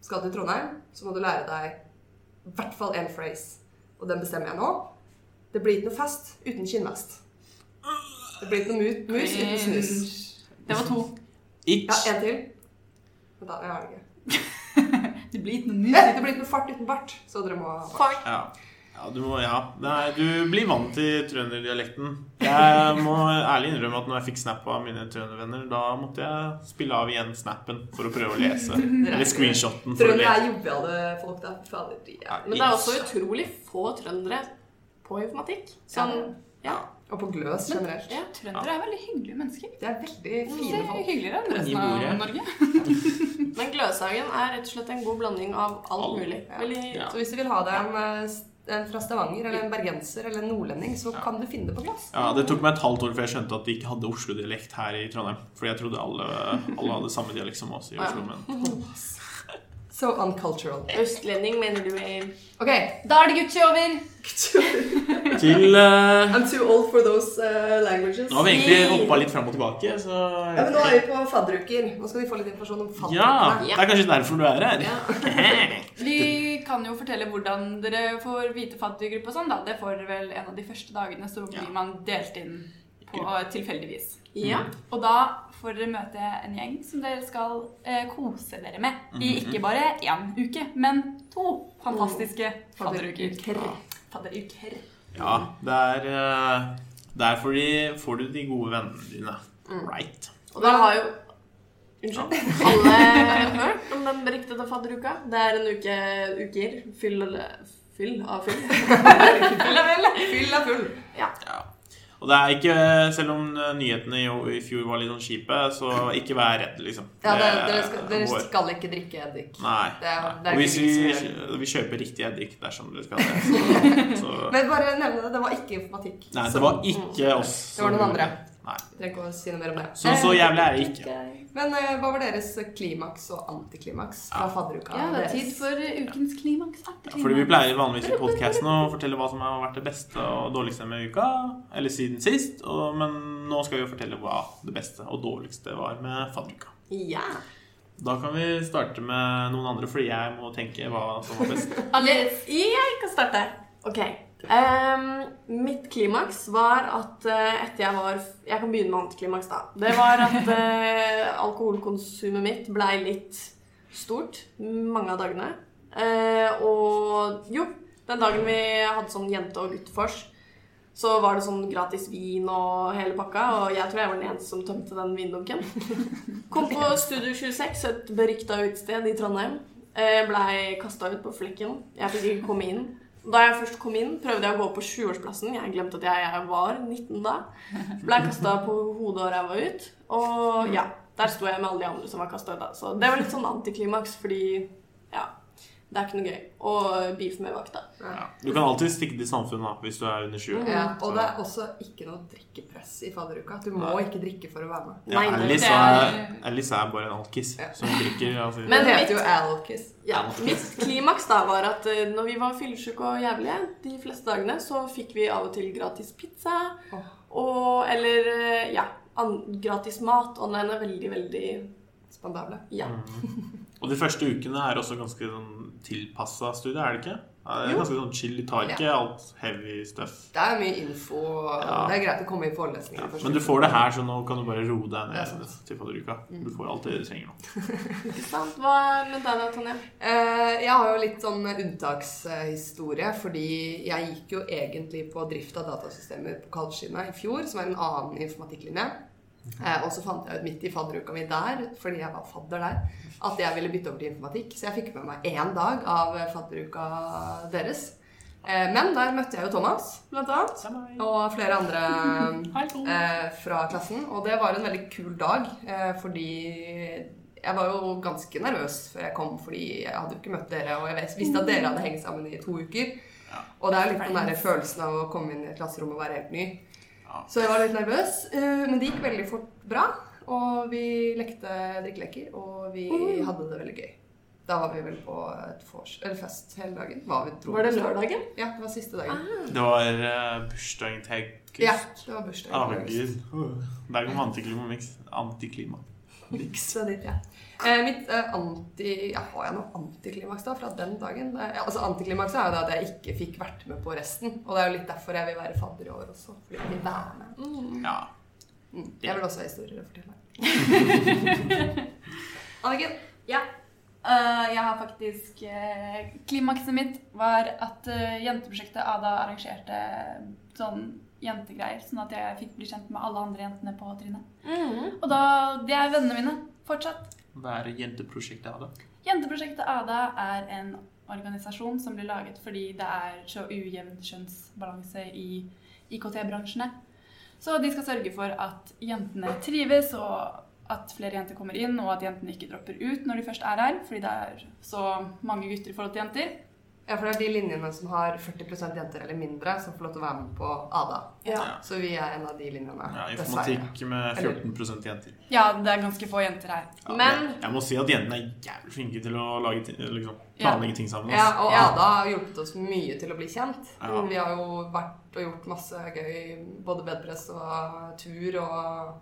Skal du til Trondheim, så må du lære deg i hvert fall én phrase. Og den bestemmer jeg nå. Det blir ikke noe fest uten kinnvest. Det blir ikke noe mu- mus uten snus. Det var to. Itch. Ja, en til. Vent da, jeg har det ikke. Det blir ikke Eh, noe Det blir ikke noe fart uten bart, så dere må ha bart. Fart. Ja. ja, du må Ja. Nei, du blir vant til trønderdialekten. Jeg må ærlig innrømme at når jeg fikk snap av mine trøndervenner, da måtte jeg spille av igjen snappen for å prøve å lese. Eller screenshoten for å Trøndere lese. er joviale folk, da. Fy fader, de er- Men det er også utrolig få trøndere på informatikk. Sånn, ja. Og på gløs generelt. ja. Trøndere er veldig hyggelige mennesker. De er veldig Det fine er folk. hyggeligere enn resten bordet. av Norge. Men Gløshaugen er rett og slett en god blanding av alt Alt. mulig. Veldig, Ja. Så hvis du vil ha deg en, eh, s- en fra Stavanger, eller en bergenser, eller en nordlending, så kan du finne det på glass. Ja, Det tok meg et halvt år før jeg skjønte at de ikke hadde Oslo-dialekt her i Trondheim. Fordi jeg trodde alle, alle hadde samme dialekt som oss i Oslo. Men So uncultural. Østlending, mener du? Emil? Ok. Da er det Gucci over. til eh, I'm too old for those eh, languages. Nå har vi egentlig hoppa litt fram og tilbake, så Ja, men nå er vi på fadderuker. Nå skal vi få litt informasjon om Ja! fadderukene. Det er kanskje derfor du er her. Vi kan jo fortelle hvordan dere får vite fattiggruppe og sånn, da. Det får dere vel en av de første dagene, så blir Ja. man delt inn på tilfeldigvis. Mm. Ja. Og da får dere møte en gjeng som dere skal eh, kose dere med i Mhm. ikke bare én uke, men to fantastiske fadderuker. Fadderuker. Ja, det er eh, Der får, de, får du de gode vennene dine. Mm. Right. Og da har jo Unnskyld. Alle hørt om den beryktede fadderuka? Det er en uke uker fyll Fyll av fyll. Fyll er full. Ja. Og det er ikke eh, Selv om eh, nyhetene i, i fjor var litt sånn kjipe, så ikke vær redd, liksom. Ja, det, dere, Det skal, dere går. skal ikke drikke eddik. Nei. Det er- nei. og det er ikke hvis vi vi, som vi kjøper riktig eddik dersom dere skal det, så, så Men bare nevne det, det var ikke informatikk. Nei, Så det var ikke oss. Det var som- noen andre. Nei. vi trenger ikke å si noe mer om det. Så, så jævlig er det ikke. Men eh, hva var deres klimaks og antiklimaks fra fadderuka? Ja, det er deres? tid for ukens klimaks. Ja, Fordi vi pleier vanligvis i podcasten å fortelle hva som har vært det beste og dårligste med uka, eller siden sist, og, men nå skal vi jo fortelle hva det beste og dårligste var med fadderuka. Ja. Da kan vi starte med noen andre, fordi jeg må tenke hva som var best. Yes, jeg kan starte. Ok. Ehm, mitt klimaks var at eh, etter jeg var Jeg kan begynne med antiklimaks, da. Det var at eh, alkoholkonsumet mitt blei litt stort mange av dagene. Eh, og jo, den dagen vi hadde sånn jente- og guttefors, så var det sånn gratis vin og hele pakka, og jeg tror jeg var den eneste som tømte den vindunken. Kom på Studio 26, et berykta utested i Trondheim. Eh, Blei kasta ut på flekken. Jeg fikk ikke komme inn. Da jeg først kom inn, prøvde jeg å gå på 20-årsplassen. Jeg glemte at jeg, jeg var 19 da. Blei kasta på hodet og ræva ut. Og ja, der sto jeg med alle de andre som var kasta ut da. Så det var litt sånn antiklimaks, fordi ja, det er ikke noe gøy å beefe med vakta. Ja. Du kan alltid stikke til samfunnet da, hvis du er under 20. Ja, og Så- det er også ikke noe drikkepress i fadderuka. Du må ikke drikke for å være med. ja, Nei, det- Alice, det er- er, Alice er bare en alkis Ja. som drikker. Altså, Men- Men det heter jo Alkis. Ja, Mitt klimaks da var at eh, når vi var fyllesyke og jævlige de fleste dagene, så fikk vi av og til gratis pizza Åh. og eller eh, ja, an, gratis mat online er veldig, veldig Spandable. ja. og de første ukene er også ganske sånn tilpassa studie, er det ikke? Ja, Det Jo. er ganske sånn chill. De tar ikke alt heavy stuff. Det er mye info. og Ja. Det er greit å komme i forelesninger. Ja. først. Men du får det her, så nå kan du bare roe deg Ja, ned sant. til fadderuka. Du får alt det du trenger nå. Ikke sant? Hva er med deg da, Tonje? Eh, Jeg har jo litt sånn unntakshistorie, fordi jeg gikk jo egentlig på drift av datasystemer på Kaldskinna i fjor, som er en annen informatikklinje. Eh, Og så fant jeg ut midt i fadderuka mi der, fordi jeg var fadder der, at jeg ville bytte over til informatikk. Så jeg fikk med meg én dag av fadderuka deres. Eh, Men der møtte jeg jo Thomas, blant annet, og flere andre eh, fra klassen. Og det var en veldig kul dag, eh, fordi jeg var jo ganske nervøs før jeg kom, fordi jeg hadde jo ikke møtt dere, og jeg vis- visste at dere hadde hengt sammen i to uker. Og det er jo litt den der følelsen av å komme inn i et klasserom og være helt ny. Ja. Så jeg var litt nervøs, eh, men det gikk veldig fort bra. Og vi lekte drikkeleker, og vi hadde det veldig gøy. Da var vi vel på et vors, eller fest hele dagen. Var, vi, dro- Var det lørdagen? Ja, det var siste dagen. Det var eh, bursdagen til August. Mm. Ja, det var bursdagen. Herregud. Der kom antiklimaks. Antiklima. Miksa dit, ja. Eh, mitt eh, anti... Ja, har jeg noe antiklimaks da fra den dagen? Det, ja, altså Antiklimakset er jo det at jeg ikke fikk vært med på resten. Og det er jo litt derfor jeg vil være fadder i år også. Fordi jeg vil være med. Ja. Mm. Jeg vil også ha historier å fortelle. Anniken. Ja. Eh, jeg har faktisk eh, Klimakset mitt var at eh, jenteprosjektet Ada arrangerte sånn jentegreier, sånn at jeg fikk bli kjent med alle andre jentene på trinnet. Og da Det er vennene mine fortsatt. Hva er jenteprosjektet av det? Jenteprosjektet Ada er en organisasjon som ble laget fordi det er så ujevn kjønnsbalanse i IKT-bransjene. Så de skal sørge for at jentene trives, og at flere jenter kommer inn, og at jentene ikke dropper ut når de først er her, fordi det er så mange gutter i forhold til jenter. Ja, for det er de linjene som har 40 jenter eller mindre, som får lov til å være med på ADA. Ja. Så vi er en av de linjene. Ja, dessverre. informatikk med 14 jenter. Ja, det er ganske få jenter her. Ja, Men det- jeg må si at jentene er jævlig flinke til å lage, ti- liksom, Ja. planlegge ting sammen. altså. Ja, ass. og Ja. Ada har hjulpet oss mye til å bli kjent. Ja. Vi har jo vært og gjort masse gøy, både bedpress og tur og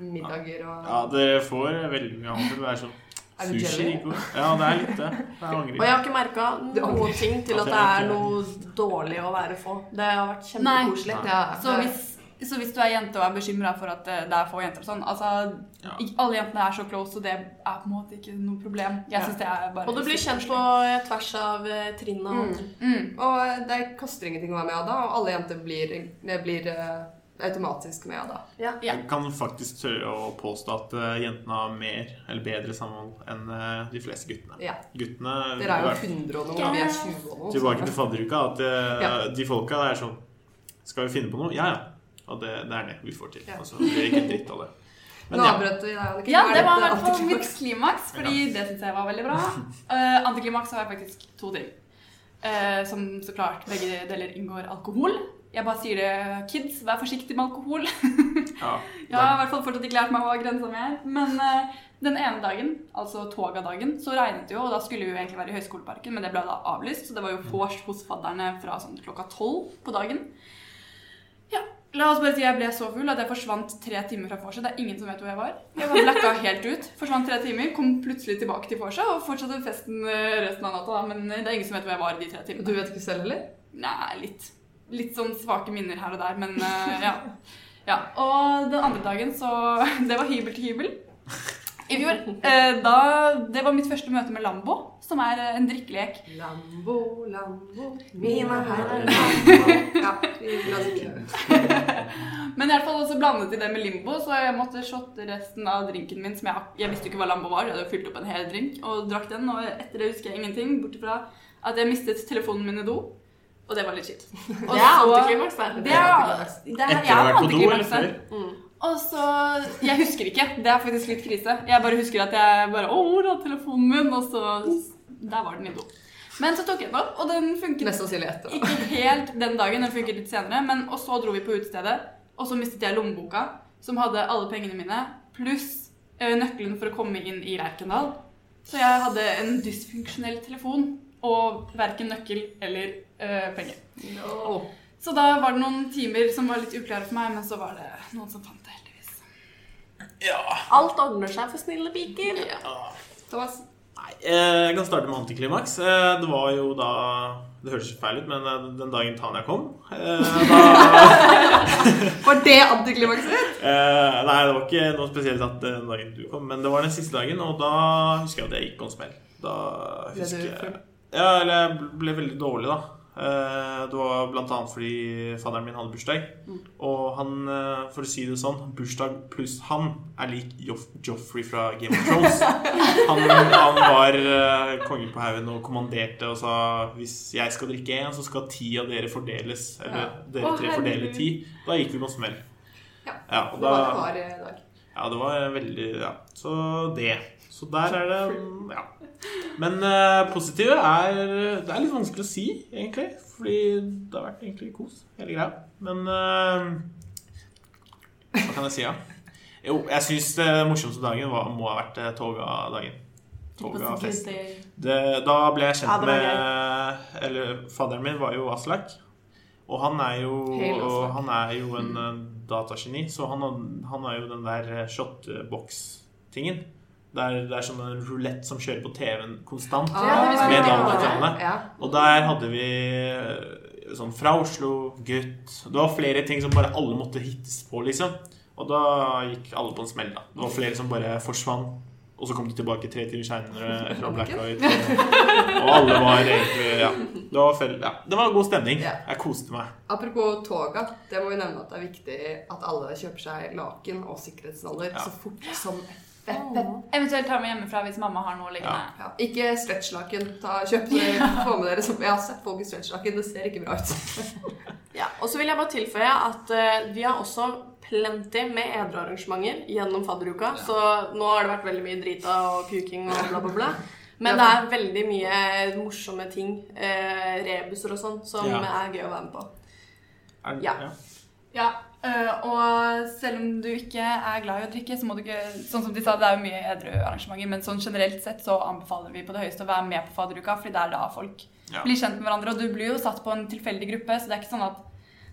middager og Ja, dere får veldig mye annet. Det er sånn Er du sushi jelly? i går. Ja, det er litt det. Jeg angrer. Og jeg har ikke Altså, merka noen ting til at det er noe dårlig å være få. Det har vært Nei. kjempekoselig. Ja, Så det- hvis, så hvis du er jente og er bekymra for at eh, det er få jenter og sånn altså, Ja. ikke Alle jentene er så close, og det er på en måte ikke noe problem. Jeg synes det er bare Og du blir kjent på eh, tvers av eh, trinna. mm. Og det koster ingenting å være med Ada, og alle jenter blir, blir eh, automatisk med Ada. Ja. Jeg kan faktisk tørre å påstå at eh, jentene har mer eller bedre samhold enn eh, de fleste guttene. Ja. Guttene Dere er i jo hvert fall 100 og noe, og vi er 20 og noe. Tilbake så- til fadderuka. At eh, Ja. de folka er sånn Skal vi finne på noe? Ja, ja. Og det, det er det vi får til. Ja. Altså, det blir ikke en dritt av det. Nå Men ja. avbrøt vi deg, Anniken. Ja, Hva er det var i dette hvert fall mitt antiklimaks? klimaks, fordi det syns jeg var veldig bra. Eh, antiklimaks har jeg faktisk to ting. Eh, som så klart begge deler inngår alkohol. Jeg bare sier det, kids, vær forsiktig med alkohol. ja. Jeg har i hvert fall fortsatt ikke lært meg hva grensa mi er. Men eh, den ene dagen, altså togadagen, så regnet det jo, og da skulle vi jo egentlig være i Høgskoleparken, men det ble da avlyst, så det var jo vors hos fadderne fra sånn klokka tolv på dagen. Ja, La oss bare si jeg ble så full at jeg forsvant tre timer fra vorset. Det er ingen som vet hvor jeg var. Jeg var blacka helt ut. Forsvant tre timer, kom plutselig tilbake til vorset og fortsatte festen eh, resten av natta. da, Men det er ingen som vet hvor jeg var i de tre Og timene. Du vet ikke selv heller? Nei, litt. Litt sånn svake minner her og der, men eh, ja. ja. Og den andre dagen, så Det var hybel til hybel i fjor. Eh, da, det var mitt første møte med Lambo, som er eh, en drikkelek. Lambo, Lambo, mine herrer Ja, vi la oss ikke- Men i hvert fall også blandet i det med limbo, så jeg måtte shotte resten av drinken min, som jeg, jeg visste jo ikke hva lambo var, jeg hadde jo fylt opp en hel drink, og drakk den, og etter det husker jeg ingenting, bortsett fra at jeg mistet telefonen min i do, og det var litt shit. Og Det er så- antiklimaks, det. Det er, antiklimaks. det er, Etter jeg å ha er vært på do, eller antiklimakset. før? Og så Jeg husker ikke. Det er faktisk litt krise. Jeg bare husker at jeg bare Å, hvor er telefonen min? Og så Der var den i do. Men så tok jeg den opp, og den funket Mest sannsynlig etter. ikke helt den dagen. Den funket litt senere. Men, og så dro vi på utestedet, og så mistet jeg lommeboka, som hadde alle pengene mine, pluss eh, nøkkelen for å komme inn i Lerkendal. Så jeg hadde en dysfunksjonell telefon og verken nøkkel eller eh, penger. No. Så da var det noen timer som var litt uklare for meg, men så var det noen som fant det, heldigvis. Ja. Alt ordner seg for snille piker. Thomas, Nei, eh, jeg kan starte med antiklimaks. Eh, Det var jo da Det høres feil ut, men eh, den dagen Tanja kom eh, da, var det antiklimakset? eh, Nei, det var ikke noe spesielt at eh, den dagen du kom, men det var den siste dagen, og da husker jeg at jeg gikk på en smell. Da Ble du husker jeg full? Ja, eller jeg ble veldig dårlig, da. Eh, Det var blant annet fordi fadderen min hadde bursdag. Mm. Og han, eh, for å si det sånn, bursdag pluss han er lik Joff Joffrey fra Game of Thrones. Han, han var eh, kongen på haugen og kommanderte og sa hvis jeg skal drikke én, så skal ti av dere fordeles. Eller dere Å, tre fordeler herregud. ti. Da gikk vi på en smell. Ja, Ja, og Det da, var det var i dag. ja, det var veldig Ja, så det. Så der er det mm, Ja. Men eh, positive er Det er litt vanskelig å si, egentlig. Fordi det har vært egentlig kos, hele greia. Men eh, Hva kan jeg si, da? Jo, jeg syns den morsomste dagen var, må ha vært eh, toga-dagen. sånn Toga-festen. Det, da ble jeg kjent Ja, det var med Eller fadderen min var jo Aslak. Og han er jo, Hail Aslak. og han er jo en eh, datageni, så han, har- han har jo den der eh, shotbox-tingen. Det er, det er sånn en rulett som kjører på TV-en konstant. det visste med jeg ikke. dataene. Ja. Og der hadde vi eh, sånn fra Oslo, gutt Det var flere ting som bare alle måtte hittes på, liksom. Og da gikk alle på en smell, da. Det var flere som bare forsvant. Og så kom de tilbake tre timer seinere etter å ha blacka ut. Og alle var egentlig Ja. Det var, fel, ja. det var god stemning. Ja. Jeg koste meg. Apropos toga, det må vi nevne at det er viktig at alle kjøper seg laken og sikkerhetsnaller Ja. så fort som feppe. Eventuelt ta med hjemmefra hvis mamma har noe liggende. Ja. Ikke stretchlaken. Ta, kjøp det, få med dere. som- Jeg har sett folk i stretchlaken, det ser ikke bra ut. Ja, og så vil jeg bare tilføye at eh, vi har også plenty med edruarrangementer gjennom fadderuka, så nå har det vært veldig mye drita og puking og bla, bla, bla. Men det er veldig mye morsomme ting, eh, rebuser og sånn, som Ja. er gøy å være med på. Er, Ja. Ja. øh, og selv om du ikke er glad i å drikke, så må du ikke Sånn som de sa, det er jo mye edru arrangementer, men sånn generelt sett så anbefaler vi på det høyeste å være med på fadderuka, fordi det er da folk Ja. blir kjent med hverandre. Og du blir jo satt på en tilfeldig gruppe, så det er ikke sånn at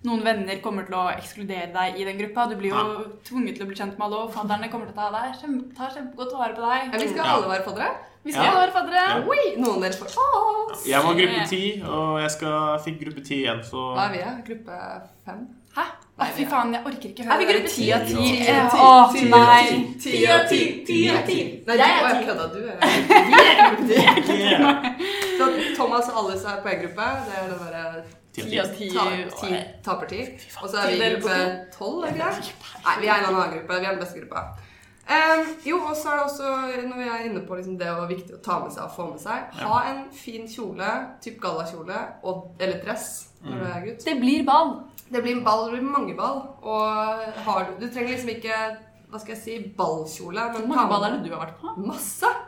noen venner kommer til å ekskludere deg i den gruppa. Du blir jo tvunget til å bli kjent med alle, og fadderne kommer til å ta deg. kjem- Ta kjempegodt vare på Ja, deg. vi skal Ja. alle være faddere. Vi skal Ja. være faddere. Ja. Oi, Noen av dere får Å, Jeg var gruppe ti, og jeg skal, fikk gruppe ti igjen, så Hva er vi, da? Gruppe fem? Hæ? Å, fy faen, jeg orker ikke høre Er vi det gruppe der. ti? ti av ti. Ti Eh, av ti. Åh, Ti av nei. ti. Ti av ti! Ti av ti! Nei, Jeg er jeg ti. kødda. Du er Vi er gruppe ti. Yeah. Så Thomas og Alice er på en gruppe. Det er det bare Ti av Ti ti. av ti. Ta- ti taper ti. Og så er vi i Deler på gruppe tolv, er vi det? Nei, vi er en annen gruppe. Vi er den beste gruppa. Ehm, jo, og så er det også, når vi er inne på liksom det å være viktig å ta med seg og få med seg Ha en fin kjole, typ gallakjole, og- eller dress når du er gutt. Det blir ball. Det blir en ball, det blir mange ball. Og har du Du trenger liksom ikke Hva skal jeg si ballkjole, men Hvor ta mange med- ball er det du har vært på? Masse! Jeg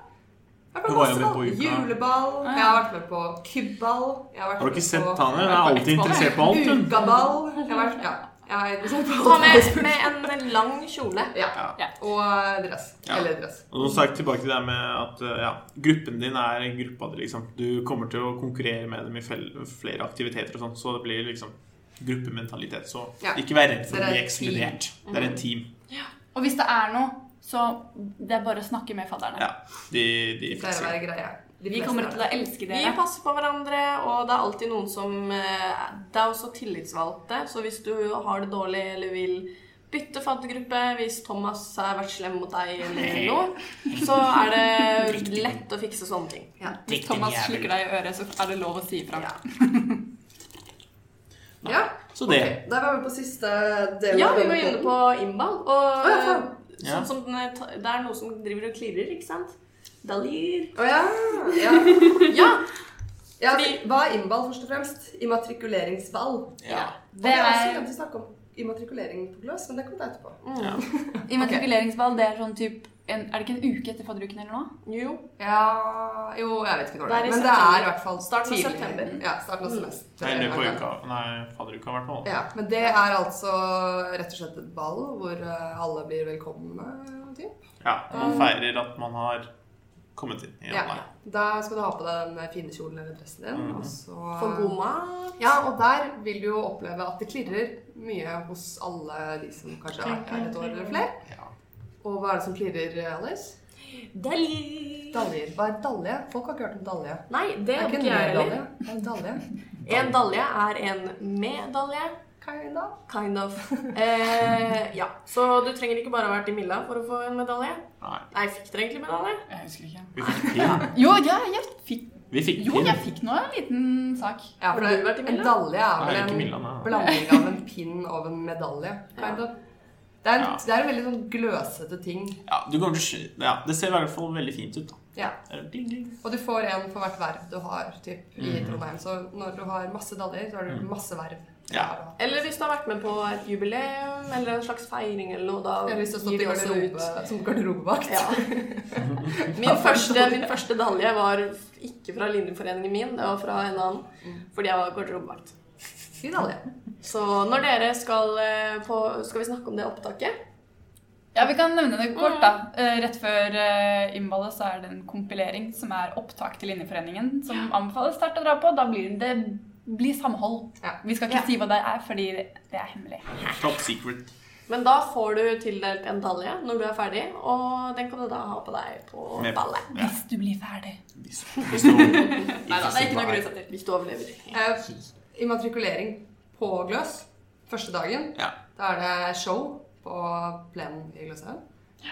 har vært Du på var jo masse med på ball. uka. Juleball. ja. Jeg har vært med på kubball. Jeg Har vært du med ikke sett på- Tanja? Hun er alltid interessert på alt, hun. Ukaball. Jeg har vært, ja. Jeg er interessert på Ta alt. med, med en lang kjole. Ja. Ja. Og dress. Ja. Eller dress. Og så sagt tilbake til det med at eh, ja, gruppen din er gruppa di, liksom. Du kommer til å konkurrere med dem i fel- flere aktiviteter og sånn, så det blir liksom gruppementalitet. Så Ja. ikke vær redd for Dere å er bli et team. Mhm. ekskludert. Det er et team. Og hvis det er noe, så det er bare å snakke med fadderne. Ja, de, de Det er å være greia. De Vi fleste kommer er til å elske Vi dere. passer på hverandre, og det er alltid noen som eh, Det er også tillitsvalgte, så hvis du har det dårlig eller vil bytte faddergruppe, hvis Thomas har vært slem mot deg eller noe, så er det lett å fikse sånne ting. Ja. Hvis Thomas slukker deg i øret, så er det lov å si ifra. Ja. ja. Så det. Ok, Da var vi på siste del. Ja, av vi denne var inne podden. på innball, og Å, ja, faen. eh, Ja. sånn som den er ta- det er noe som driver og klirrer, ikke sant? Daljer. Å ja. ja. Ja! ja fordi- hva er innball, først og fremst? Immatrikuleringsball. Ja. Det Det er også er glemt å snakke om immatrikulering på Gløs, men det kommer vi etterpå. ja. Immatrikuleringsball det er sånn typ en, Er det ikke en uke etter fadderuken eller noe? Jo. Ja Jo, jeg vet ikke når det Det er. er i Men det september. er i hvert fall Starten av tidlig. september. Ja, starten av semester. Nei, i løpet av uka. Nei, fadderuka, i hvert fall. Ja, men det er altså rett og slett et ball hvor eh, alle blir velkomne. Typ. Ja, man feirer at man har kommet inn i Ja. januar. Da skal du ha på deg den fine kjolen eller dressen din. Mhm. Og så For god mat. Ja, og der vil du jo oppleve at det klirrer mye hos alle de som kanskje har vært her et år eller flere. Ja. Og hva er det som klirrer, Alice? Daljer. Daljer. Hva er dalje? Folk har ikke hørt om dalje. Nei, det Er er ikke ikke en jeg dalje? heller. Er det dalje? En dalje er en medalje. Kinda. Kind of. Eh, ja. Så du trenger ikke bare ha vært i Milla for å få en medalje. Nei, Nei, fikk dere egentlig medalje? Jeg husker ikke. vi fikk pin. Jo, ja, jeg fikk, Vi fikk jo, pin. jeg fikk nå en liten sak. Ja, Har for du det- vært i en Milla? dalje er Nei, vel ikke en Milla, nei. blanding av en pinn og en medalje. kind of. Det er en, Ja. det er en veldig sånn gløsete ting. Ja, du kommer til å sky... Ja, det ser i hvert fall veldig fint ut, da. Ja. Det er Ding, ding. Og du får en for hvert verv du har typ, i Mhm. Trondheim. Så når du har masse daljer, så har du masse verv. Mm. Ja. Eller hvis du har vært med på et jubileum eller en slags feiring eller noe, da Jeg har lyst til å stå til gir de også garderobe, som garderobevakt. Ja. Min første, min første dalje var ikke fra linjeforeningen min, det var fra en Mm. annen. Fordi jeg var garderobevakt. Fin dalje. Så når dere skal eh, på Skal vi snakke om det opptaket? Ja, Vi kan nevne det kort. da. Eh, Rett før eh, innballet så er det en kompilering som er opptak til Linjeforeningen, som anbefales sterkt å dra på. Da blir det, det blir samhold. Ja. Vi skal ikke si hva det er, fordi det er hemmelig. Top secret. Men da får du tildelt en dalje når du er ferdig, og den kan du da ha på deg på Med- ballet. Ja. Hvis du blir ferdig. Hvis, hvis du Nei da, det er ikke noe grunn til. Hvis du overlever. Eh, immatrikulering på Gløs første dagen. Ja. Da er det show på plenen i Gløshaugen.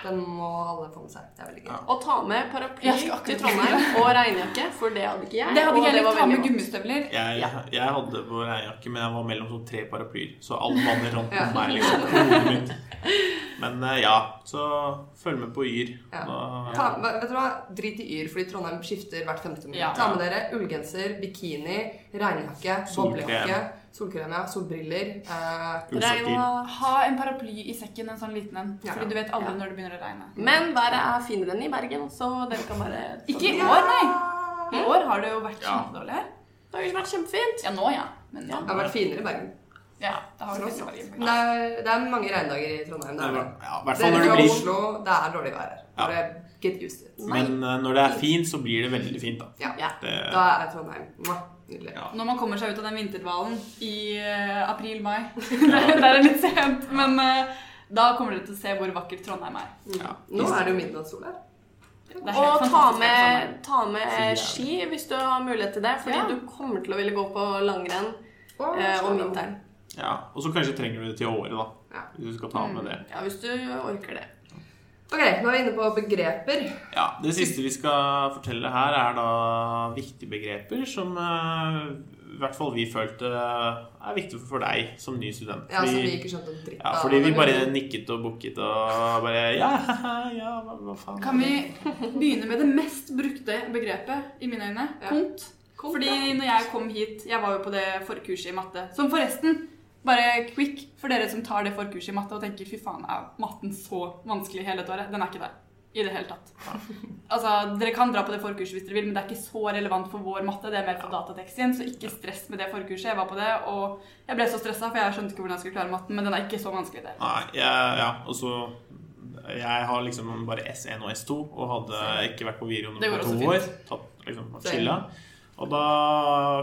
Den må alle få med seg. Det er veldig gøy. Ja. Og ta med paraply Jeg skal akkurat til Trondheim og regnjakke, for det hadde ikke jeg. Det hadde og ikke jeg var likt. Ta veldig med vanskelig. gummistøvler. Jeg, jeg hadde på regnjakke, men jeg var mellom sånn tre paraplyer, så alt vannet rant på Ja. meg. liksom, på hodet mitt. Men eh, ja, så følg med på Yr. Ja. Da- Ta, vet du hva? Drit i yr, fordi Trondheim skifter hvert femte minutt. Ja. Ta med dere ullgenser, bikini, regnjakke, Solkrem. boblejakke, solkrem, ja, solbriller. Eh, Ullsokker. Regna- Ha en paraply i sekken, en sånn liten en. Ja. Fordi du vet aldri Ja. når det begynner å regne. Men været er finere enn i Bergen, så dere kan bare Ikke i år, nei. I år har det jo vært Ja. kjempedårlig her. Det har jo vært kjempefint. Ja, nå, ja. Men ja. det har vært finere i Bergen. ja det har Tross vært alt. veldig Men det er, det er mange regndager i Trondheim. Det Ja, er det. I hvert fall Dere når det fra blir Oslo, det er dårlig vær her. Ja. Bare get used to it. Men eh, når det er fint, så blir det veldig fint, da. Ja. Ja. Det, Da er Trondheim mwah, nydelig. ja. Når man kommer seg ut av den vinterdvalen i april-mai Det er det litt sent, men eh, da kommer dere til å se hvor vakkert Trondheim er. Ja. Nå er det jo midnattssol her. Det er helt Og ta fantastisk helt sommer. med, ta med Så ski hvis du har mulighet til det, fordi Ja. du kommer til å ville gå på langrenn eh, om vinteren. ja. Og så kanskje trenger du det til året, da. Ja. Mm. Hvis du skal ta med det. Ja, hvis du orker det. Ok, nå er vi inne på begreper. Ja, Det siste vi skal fortelle her, er da viktige begreper som eh, i hvert fall vi følte eh, er viktige for deg som ny student. Ja, som vi Fordi- ikke skjønte en dritt ja, fordi vi bare nikket og bukket og bare Ja, ja, hva, hva faen? Kan vi begynne med det mest brukte begrepet i mine øyne? Ja. Punkt. Fordi når jeg kom hit Jeg var jo på det forkurset i matte. Som forresten bare quick for dere som tar det forkurset i matte og tenker 'fy faen, er matten så vanskelig hele dette året?' Den er ikke det. I det hele tatt. Altså, Dere kan dra på det forkurset hvis dere vil, men det er ikke så relevant for vår matte. Det er mer for datatekst igjen, så ikke stress med det forkurset. Jeg var på det, og jeg ble så stressa, for jeg skjønte ikke hvordan jeg skulle klare matten, men den er ikke så vanskelig, det. Nei, jeg, ja, og så Jeg har liksom bare S1 og S2 og hadde ikke vært på Det videregående på går også to år. Tatt liksom og chilla. Og da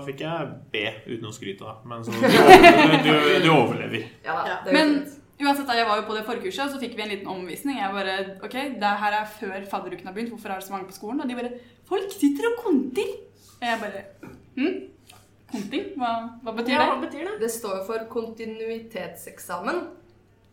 fikk jeg B, uten å skryte, da. Men så du, overlever- du, du overlever. Ja, da, Ja. det er jo Men fint. uansett, da jeg var jo på det forkurset, og så fikk vi en liten omvisning. Jeg bare OK, det her er før fadderuken har begynt, hvorfor er det så mange på skolen? Og de bare Folk sitter og konter! Og jeg bare Hm? Konting? Hva, hva betyr Ja, det? hva betyr det? Det står jo for kontinuitetseksamen.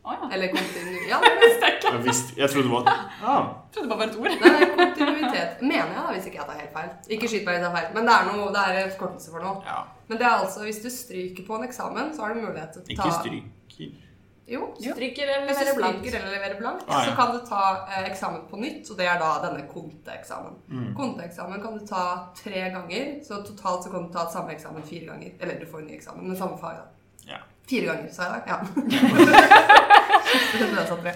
Å ja. Eller kontinu... Ja, det er det. Jeg, visste, jeg trodde det var ah, Jeg trodde det bare var et ord. Nei, det er kontinuitet. Mener jeg, da, hvis ikke jeg tar helt feil. Ikke skyt meg hvis jeg tar feil, men det er, noe, det er en forkortelse for noe. ja. Men det er altså, hvis du stryker på en eksamen, så har du mulighet til å ta Ikke stryker. Jo. Ja. Stryker eller Hvis du leverer blankt? stryker eller leverer blankt, Ah, ja. så kan du ta eh, eksamen på nytt, og det er da denne konteeksamen. Mm. Konteeksamen kan du ta tre ganger, så totalt så kan du ta samme eksamen fire ganger. Eller du får en ny eksamen, men samme fag, da. Ja. Fire ganger, sa jeg da. Ja. det er sant, det.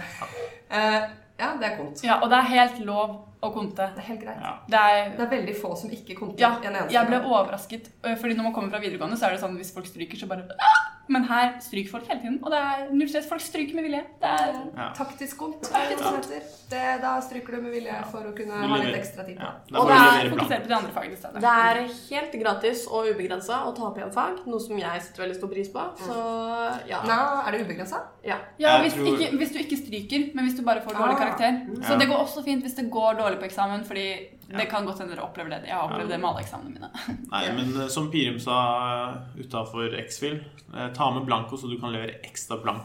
Eh, ja, det er kont. Ja, og det er helt lov å konte. Det er helt greit. Ja. Det er Det er veldig få som ikke konter Ja, en eneste jeg ble gang. overrasket. øh, Fordi når man kommer fra videregående, så er det sånn hvis folk stryker, så bare «Ah!» Men her stryker folk hele tiden. Og det er null stress. Folk stryker med vilje. Det er Ja. Taktisk kont. er det Taktisk det heter. Det- Da stryker du med vilje for å kunne Du ha litt leverer. ekstra tid på. Ja. Da må du Og det er levere blankt. fokusert på de andre fagene i stedet. Det er helt gratis og ubegrensa å ta opp igjen fag, noe som jeg setter veldig stor pris på. Mm. Så ja. Nå er det ubegrensa. ja. Ja, Jeg hvis, tror- ikke, hvis du ikke stryker, men hvis du bare får dårlig Ah. karakter. Så Ja. det går også fint hvis det går dårlig på eksamen, fordi det kan godt hende dere opplever det. Jeg har opplevd Ja. det med alle eksamene mine. Nei, men eh, som Pirim sa eh, utafor X-Fill, eh, ta med blanko så du kan levere ekstra blank.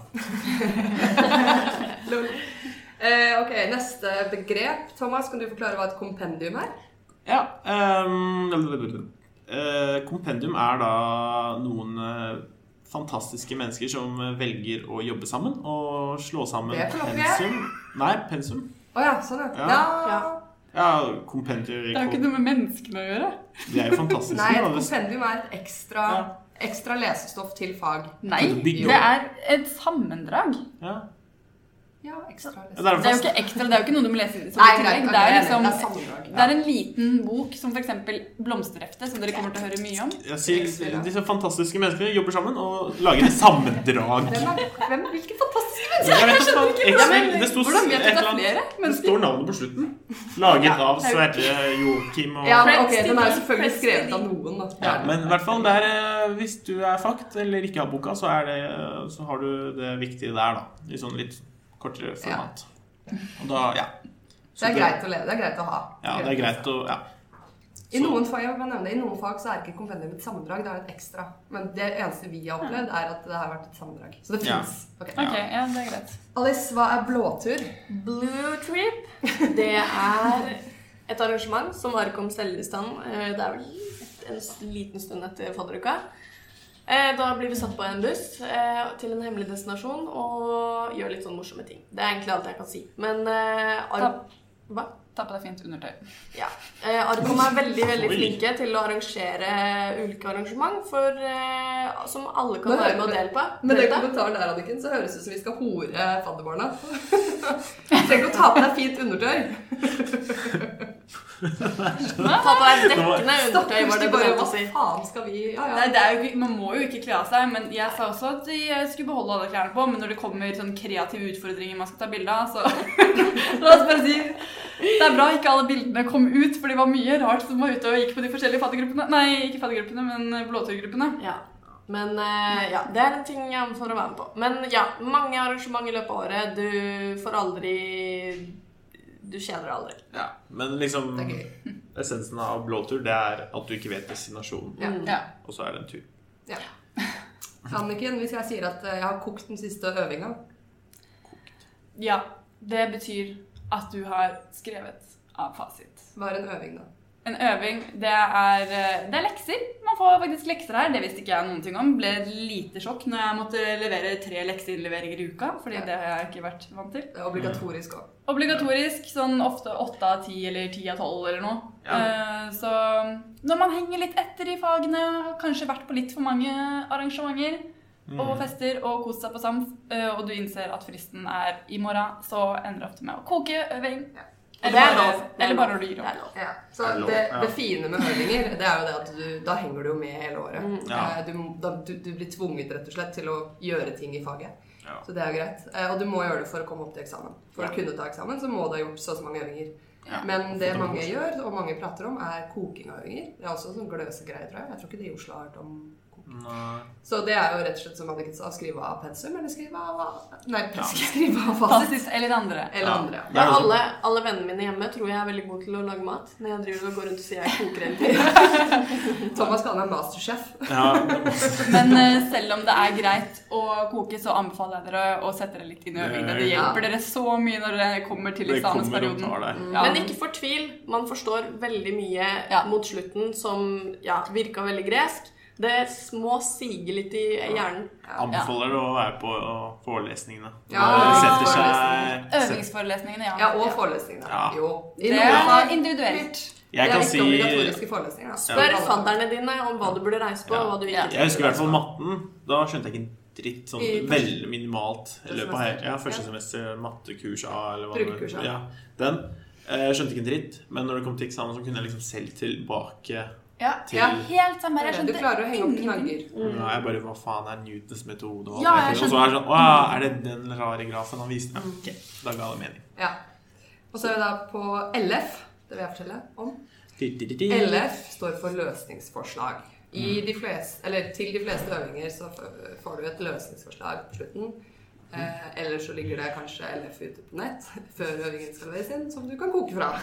Eh, ok, Neste begrep. Thomas, kan du forklare hva et kompendium er? Ja. ehm, eh, kompendium er da noen eh, fantastiske mennesker som eh, velger å jobbe sammen og slå sammen Det får lov til. pensum. Nei, pensum. Å ja, sånn Ja. ja. Da- Ja. Ja, kompendier Det har jo ikke noe med menneskene å gjøre. De er jo fantastiske. Nei, et da. Det- kompendium er et ekstra, ekstra lesestoff til fag. Nei, Kan du bygge det opp? er et sammendrag. Ja. Ja, ekstra Ja, det er lesestoff. Det er jo ikke ekstra, det er jo ikke noe du må lese som Nei, i tillegg. greit. ok, Det er jeg liksom mener, det er sammendrag. Det er en liten bok som f.eks. Blomsterhefte, som dere kommer til å høre mye om. Jeg sier, disse fantastiske menneskene jobber sammen og lager et sammendrag. Hvem er- hvem- Hvilke fantastiske mennesker! Jeg vet ikke, Ja, men Excel, det sto hvordan vet du et det er eller annet- flere Det står navnet på slutten. Laget av det er jo- Sverre, Joakim og Ja, men ok, Den er jo Prestige, selvfølgelig skrevet prestige. av noen. da. Ja, Men i hvert fall, det er, eh, hvis du er fakt eller ikke har boka, så, er det, eh, så har du det viktige der, da. I sånn litt kortere format. Og da, ja. Det er greit å leve, det er greit å ha. Ja, det er greit å ja. I Så- noen, fag, jeg må nevne, I noen fag så er ikke kompendium et sammendrag, det er et ekstra. Men det eneste vi har opplevd, er at det har vært et sammendrag. Så det Ja. fins. Ok. Ok, ja, det er greit. Alice, hva er blåtur? Blue Trip, det er et arrangement som har kommet selv i stand. eh, Det er vel en liten stund etter fadderuka. Eh, Da blir vi satt på en buss eh, til en hemmelig destinasjon og gjør litt sånn morsomme ting. Det er egentlig alt jeg kan si. Men eh, Ar- Hva? Ta på deg fint undertøy. Ja. Eh, Arkom er veldig veldig Oi. flinke til å arrangere ulike arrangement for, eh, som alle kan Men- være med og dele på. Med den Delta. kommentaren der, Anniken, så høres det ut som vi skal hore fadderbarna. Trenger ikke å ta på deg fint undertøy. Ta på deg dekkende undertøy, Stakkars, var de det bare bestemt Hva å si. faen skal vi Ja, ja. Nei, det er jo, ikke- man må jo ikke kle av seg, men jeg sa også at jeg skulle beholde alle klærne på. Men når det kommer sånn kreative utfordringer man skal ta bilde av, så La oss bare si det er bra ikke alle bildene kom ut, for det var mye rart som var ute og gikk på de forskjellige fattiggruppene. Nei, ikke fattiggruppene, men eh, blåturgruppene. Ja. Men eh, ja, det er en ting jeg anbefaler å være med på. Men ja, mange arrangement i løpet av året. Du får aldri Du kjeder deg aldri. ja. Men liksom Det er gøy. essensen av blåtur, det er at du ikke vet destinasjonen, Ja. Mm. Ja. og så er det en tur. Ja. Anniken, hvis jeg sier at eh, jeg har kokt den siste øvinga ja. Det betyr at du har skrevet av fasit. Hva er en øving, da? En øving, det er, eh, det er lekser. Man får faktisk lekser her. Det visste ikke jeg noen ting om. Ble et lite sjokk når jeg måtte levere tre lekseinnleveringer i uka. Fordi Ja. det har jeg ikke vært vant til. Det er obligatorisk òg. Obligatorisk sånn ofte åtte av ti eller ti av tolv eller noe. Ja. Eh, så når man henger litt etter i fagene, har kanskje vært på litt for mange arrangementer Mm. og fester og kost seg på samf, eh, og du innser at fristen er i morgen, så ender det ofte med å koke øving. Ja. Eller, Det er bare, lov. Det er eller bare lov. når du gir Det opp. er lov. Ja. Så Er det lov? det, Ja. det fine med høringer, det er jo det at du, da henger du jo med hele året. Mm. Ja. Eh, Du, må- da, du, du blir tvunget rett og slett til å gjøre ting i faget. Ja. Så det er jo greit. Eh, Og du må gjøre det for å komme opp til eksamen. For Ja. å kunne ta eksamen så må du ha gjort så og så mange øvinger. Ja. Men det mange gjør, og mange prater om, er koking av øyer. Det er også sånn gløsegreier, tror jeg. Jeg tror ikke de i Oslo har hørt om Mm. koking. Nei. Så det er jo rett og slett som Anniken sa, skrive av pensum, eller skrive av Nei, Ja. pensum, skrive av fasit. Fasit eller andre. Eller Ja. andre. Det Ja, er jo- alle, alle vennene mine hjemme tror jeg er veldig god til å lage mat. Når jeg driver og går rundt og sier jeg koker hele tiden. Thomas kaller meg masterchef. Ja, Men eh, selv om det er greit å koke, så anbefaler jeg dere å sette dere litt inn i øvingene. Det Ja. hjelper dere så mye når dere kommer til det kommer og eksamensperioden. tar deg. Ja. Men ikke fortvil. Man forstår veldig mye Ja. mot slutten som ja, virka veldig gresk. Det må sige litt i hjernen. Anbefaler det å være på å, forelesningene. Ja, Det setter forelesningene. seg set- Øvingsforelesningene, ja. Ja, og forelesningene. Ja. Jo. I Det noen fag- er individuelt. Jeg det kan er ikke si obligatoriske forelesninger. Da. Spør fadderne dine om hva du burde reise på, Ja. og hva du ikke Ja. Jeg husker i hvert fall matten. Da skjønte jeg ikke en dritt. Sånn I første- veldig minimalt i løpet av semester. hele ja, Første semester mattekurs A eller hva Brukekurs A. Ja, den. Eh, Jeg skjønte ikke en dritt, men når det kom til eksamen, så kunne jeg liksom selv tilbake. Ja, Til- ja helt samme her. Jeg sånn Du skjønte klarer å henge opp knagger. Ja, jeg bare Hva faen er Newtons metode? Og, alt Ja, det jeg der? og så er det sånn Å ja, er det den rare grafen han viste Mm. meg? Ok, Da ga det mening. Ja. Og så er vi da på LF. Det vil jeg fortelle om. Di-di-di-di. LF står for løsningsforslag. I Mm. de fleste, eller til de fleste øvinger så f- får du et løsningsforslag på slutten. Mm. Eh, eller så ligger det kanskje LF ute på nett før øvingen skal leveres inn, som du kan koke fra.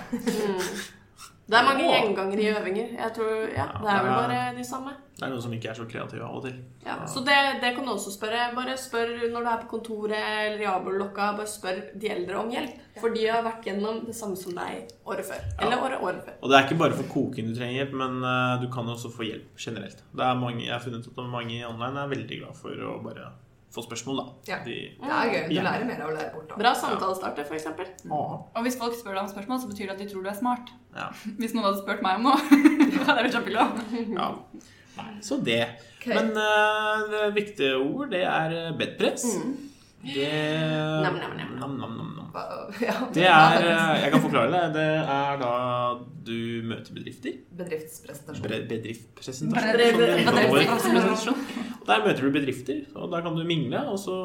Det er mange gjengangere i øvinger. Jeg tror, ja, Det er vel Ja. bare de samme. Det er noen som ikke er så kreative av og til. Ja, så det, det kan du også spørre. Bare spør når du er på kontoret eller i abolokka. Bare spør de eldre om hjelp. For de har vært gjennom det samme som deg året før. Eller året året før. Og det er ikke bare for koking du trenger hjelp, men eh, du kan også få hjelp generelt. Det er mange, jeg har funnet ut at mange online er veldig glad for å bare få spørsmål, da. Ja. De- Det er gøy. Du Ja. lærer mer av å lære bort. Da. Bra samtalestarter, for eksempel Og hvis folk spør deg om spørsmål, så betyr det at de tror du er smart. Ja. Hvis noen hadde spurt meg om noe, da hadde jeg vært kjempeglad. ja. Nei, så det. Ok. Men eh, det viktige ord, det er eh, bedpress. Det Mm. Nam, nam, nam. Nam, nam, nam, nam. Hva- Ja, Det er eh, Jeg kan forklare det. Det er da du møter bedrifter. bedriftspresentasjon. Bre- Bedriftspresentasjon. Bedre- som det bedre- heter på vår. bedre- Og Der møter du bedrifter, og der kan du mingle. Og så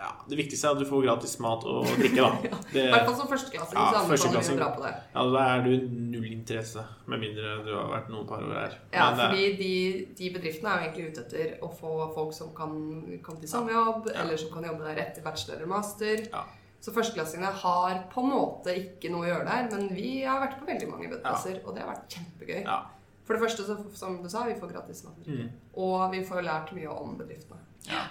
ja, Det viktigste er at du får gratis mat og drikke, da. Det, I hvert fall som førsteklassing. Ja, så anbefaler vi førsteklassing. å dra på det. ja, da er du null interesse, med mindre du har vært noen par år her. Ja, Men eh, det- fordi de, de bedriftene er jo egentlig ute etter å få folk som kan komme til samme jobb, eller som kan jobbe der etter bachelor eller master. Ja. Så førsteklassingene har på en måte ikke noe å gjøre der, men vi har vært på veldig mange bøtteplasser, og det har vært kjempegøy. ja. For det første, så, som du sa, vi får gratis mat og drikke. Og vi får lært mye om bedriftene.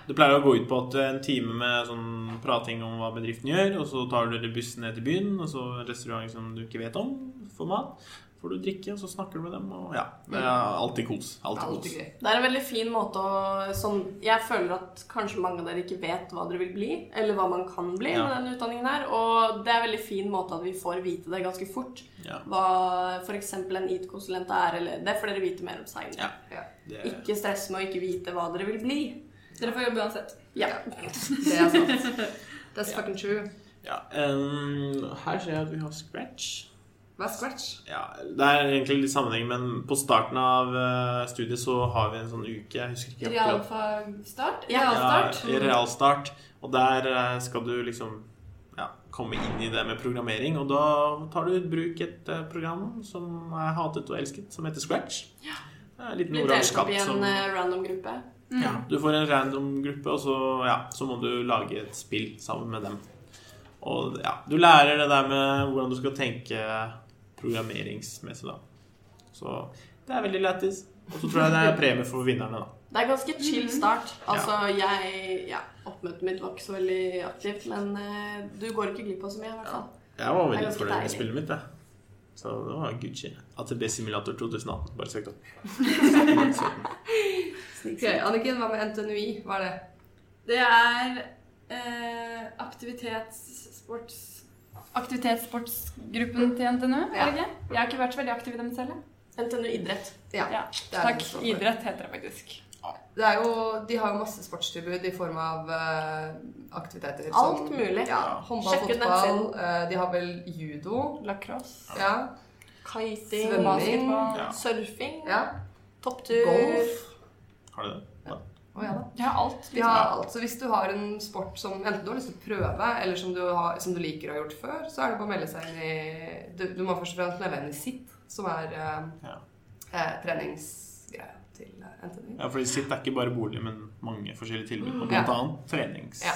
Det pleier å gå ut på at eh, en time med sånn prating om hva bedriften gjør, og så tar dere bussen ned til byen, og så en restaurant som du ikke vet om, får mat. Får du drikke, og så snakker du med dem, og ja. Det er alltid kos. Det er Alltid Mm. alltid kos. gøy. Det er en veldig fin måte å sånn, Jeg føler at kanskje mange av dere ikke vet hva dere vil bli, eller hva man kan bli Ja. med denne utdanningen her. Og det er en veldig fin måte at vi får vite det ganske fort. Ja. Hva f.eks. en IT-konsulent er, eller Det får dere vite mer om seinere. Ja. Ja. Det, Ikke stress med å ikke vite hva dere vil bli. Dere får jobbe uansett. Ja. Det er sant. That's fucking true. ja. em, her ser jeg at vi har scratch. Hva er scratch? Ja, det er egentlig litt sammenheng, men på starten av eh, studiet så har vi en sånn uke Jeg husker ikke akkurat. Realfagstart? Ja. realstart. Ja, realstart. Og der eh, skal du liksom ja, komme inn i det med programmering. Og da tar du i bruk et eh, program som er hatet og elsket, som heter Scratch. Det er en liten Blir oransje delt opp katt i en som eh, random gruppe. ja, Du får en random gruppe, og så, ja, så må du lage et spill sammen med dem. Og ja, du lærer det der med hvordan du skal tenke programmeringsmessig, da. Så det er veldig lættis. Og så tror jeg det er premie for vinnerne, da. Det er ganske chill start. Altså, jeg ja, Oppmøtet mitt var ikke så veldig aktivt, men eh, du går ikke glipp av så mye, i hvert fall. Jeg var Det er veldig ganske fornøyd med deilig. spillet mitt, jeg. Så det var Gucci. ATB Simulator 2018. Bare søkt opp. Ok, Anniken, hva med NTNUI? Hva er det? Det er eh, aktivitetssports... Aktivitetssportsgruppen til NTNU, Ja. er det ikke? Jeg har ikke vært så veldig aktiv i dem selv. jeg. NTNU idrett. Ja. Ja. er Takk. det som står for. Idrett heter det faktisk. Det er jo, de har jo masse sportstilbud i form av eh, aktiviteter. Alt som- mulig. Ja, håndball, Sjekk ut fotball. eh, de har vel judo. Lacrosse. Ja. Kiting, Svømming. Basketball. Ja. surfing, ja. topptur Golf. Har du det? Ja. Hva Å, ja da. Jeg har alt. liksom. Vi har alt. Så hvis du har en sport som enten du har lyst til å prøve, eller som du, har, som du liker å ha gjort før, så er det bare å melde seg inn i Du, du må først og fremst melde deg inn i sitt, som er eh, Ja. eh, treningsgreia til eh, NTNU. Ja, fordi sitt er ikke bare bolig, men mange forskjellige tilbud. Og Ja. blant annet trenings... Ja.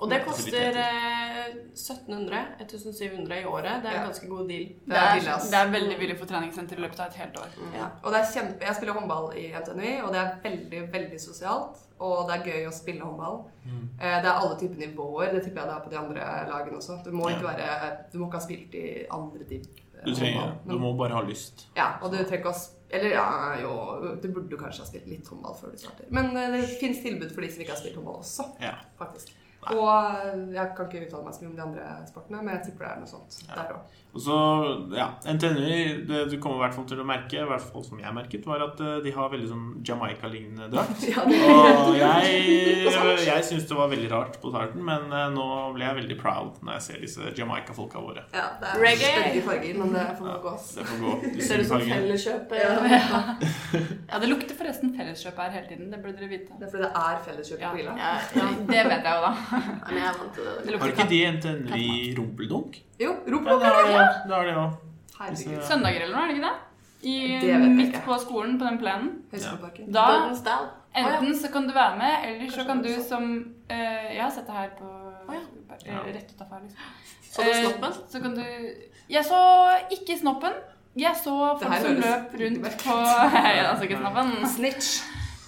Og det koster eh, 1700, 1700 i året. Det er Ja. en ganske god deal. Det er billig, ass. det er veldig billig for treningssenter i løpet av et helt år. Ja. Og det er kjempe, jeg spiller håndball i NTNU, og det er veldig veldig sosialt. Og det er gøy å spille håndball. Mm. Eh, Det er alle typer nivåer. Det tipper jeg det er på de andre lagene også. Du må ikke, Ja. være, du må ikke ha spilt i andre div. eh, Du trenger, håndball, du men- må bare ha lyst. Ja, og du trenger ikke å sp- Eller ja, jo, du burde jo kanskje ha spilt litt håndball før du starter. Men eh, det fins tilbud for de som ikke har spilt håndball også, Ja. faktisk. Nei. Og eh, jeg kan ikke uttale meg så mye om de andre sportene, men jeg tipper det er noe sånt Ja. der òg. Og så, ja, NTNU, det du kommer i hvert fall til å merke, i hvert fall som jeg merket, var at eh, de har veldig sånn Jamaica-lignende drakt. Ja, Og jeg, eh, jeg syns det var veldig rart på starten, men eh, nå ble jeg veldig proud når jeg ser disse Jamaica-folka våre. ja, det er Reggae! stygge farger, men det får man gå ass. Det får gå. De Ser ut som fargene. felleskjøp. eh, Ja. Ja, Det lukter forresten felleskjøp her hele tiden. Det burde dere vite. Det er fordi det er felleskjøp Ja. på Grilla. Ja, ja. Ja, det vet jeg jo, da. Nei, men jeg er vant til det. Det Har lukter ikke kaffe. de NTNU i rumpeldunk? Jo, rop Ja, på det har de Grilla! òg. Det har de òg. Herregud. Søndager eller noe, er det ikke det? Det I, vet jeg midt ikke. på skolen, på den plenen. Høyskoleparken. Da Gordon Stahl. enten så kan du være med, eller så Kanskje kan det du er sånn. som eh, Jeg har sett det her på ja. Ja. eh, Rett utafor her, liksom. Så du Eh, snoppen? Så kan du Jeg så ikke snoppen. Jeg så Det folk her som høres løp rundt ikke på Jeg så ikke snoppen. Snitch.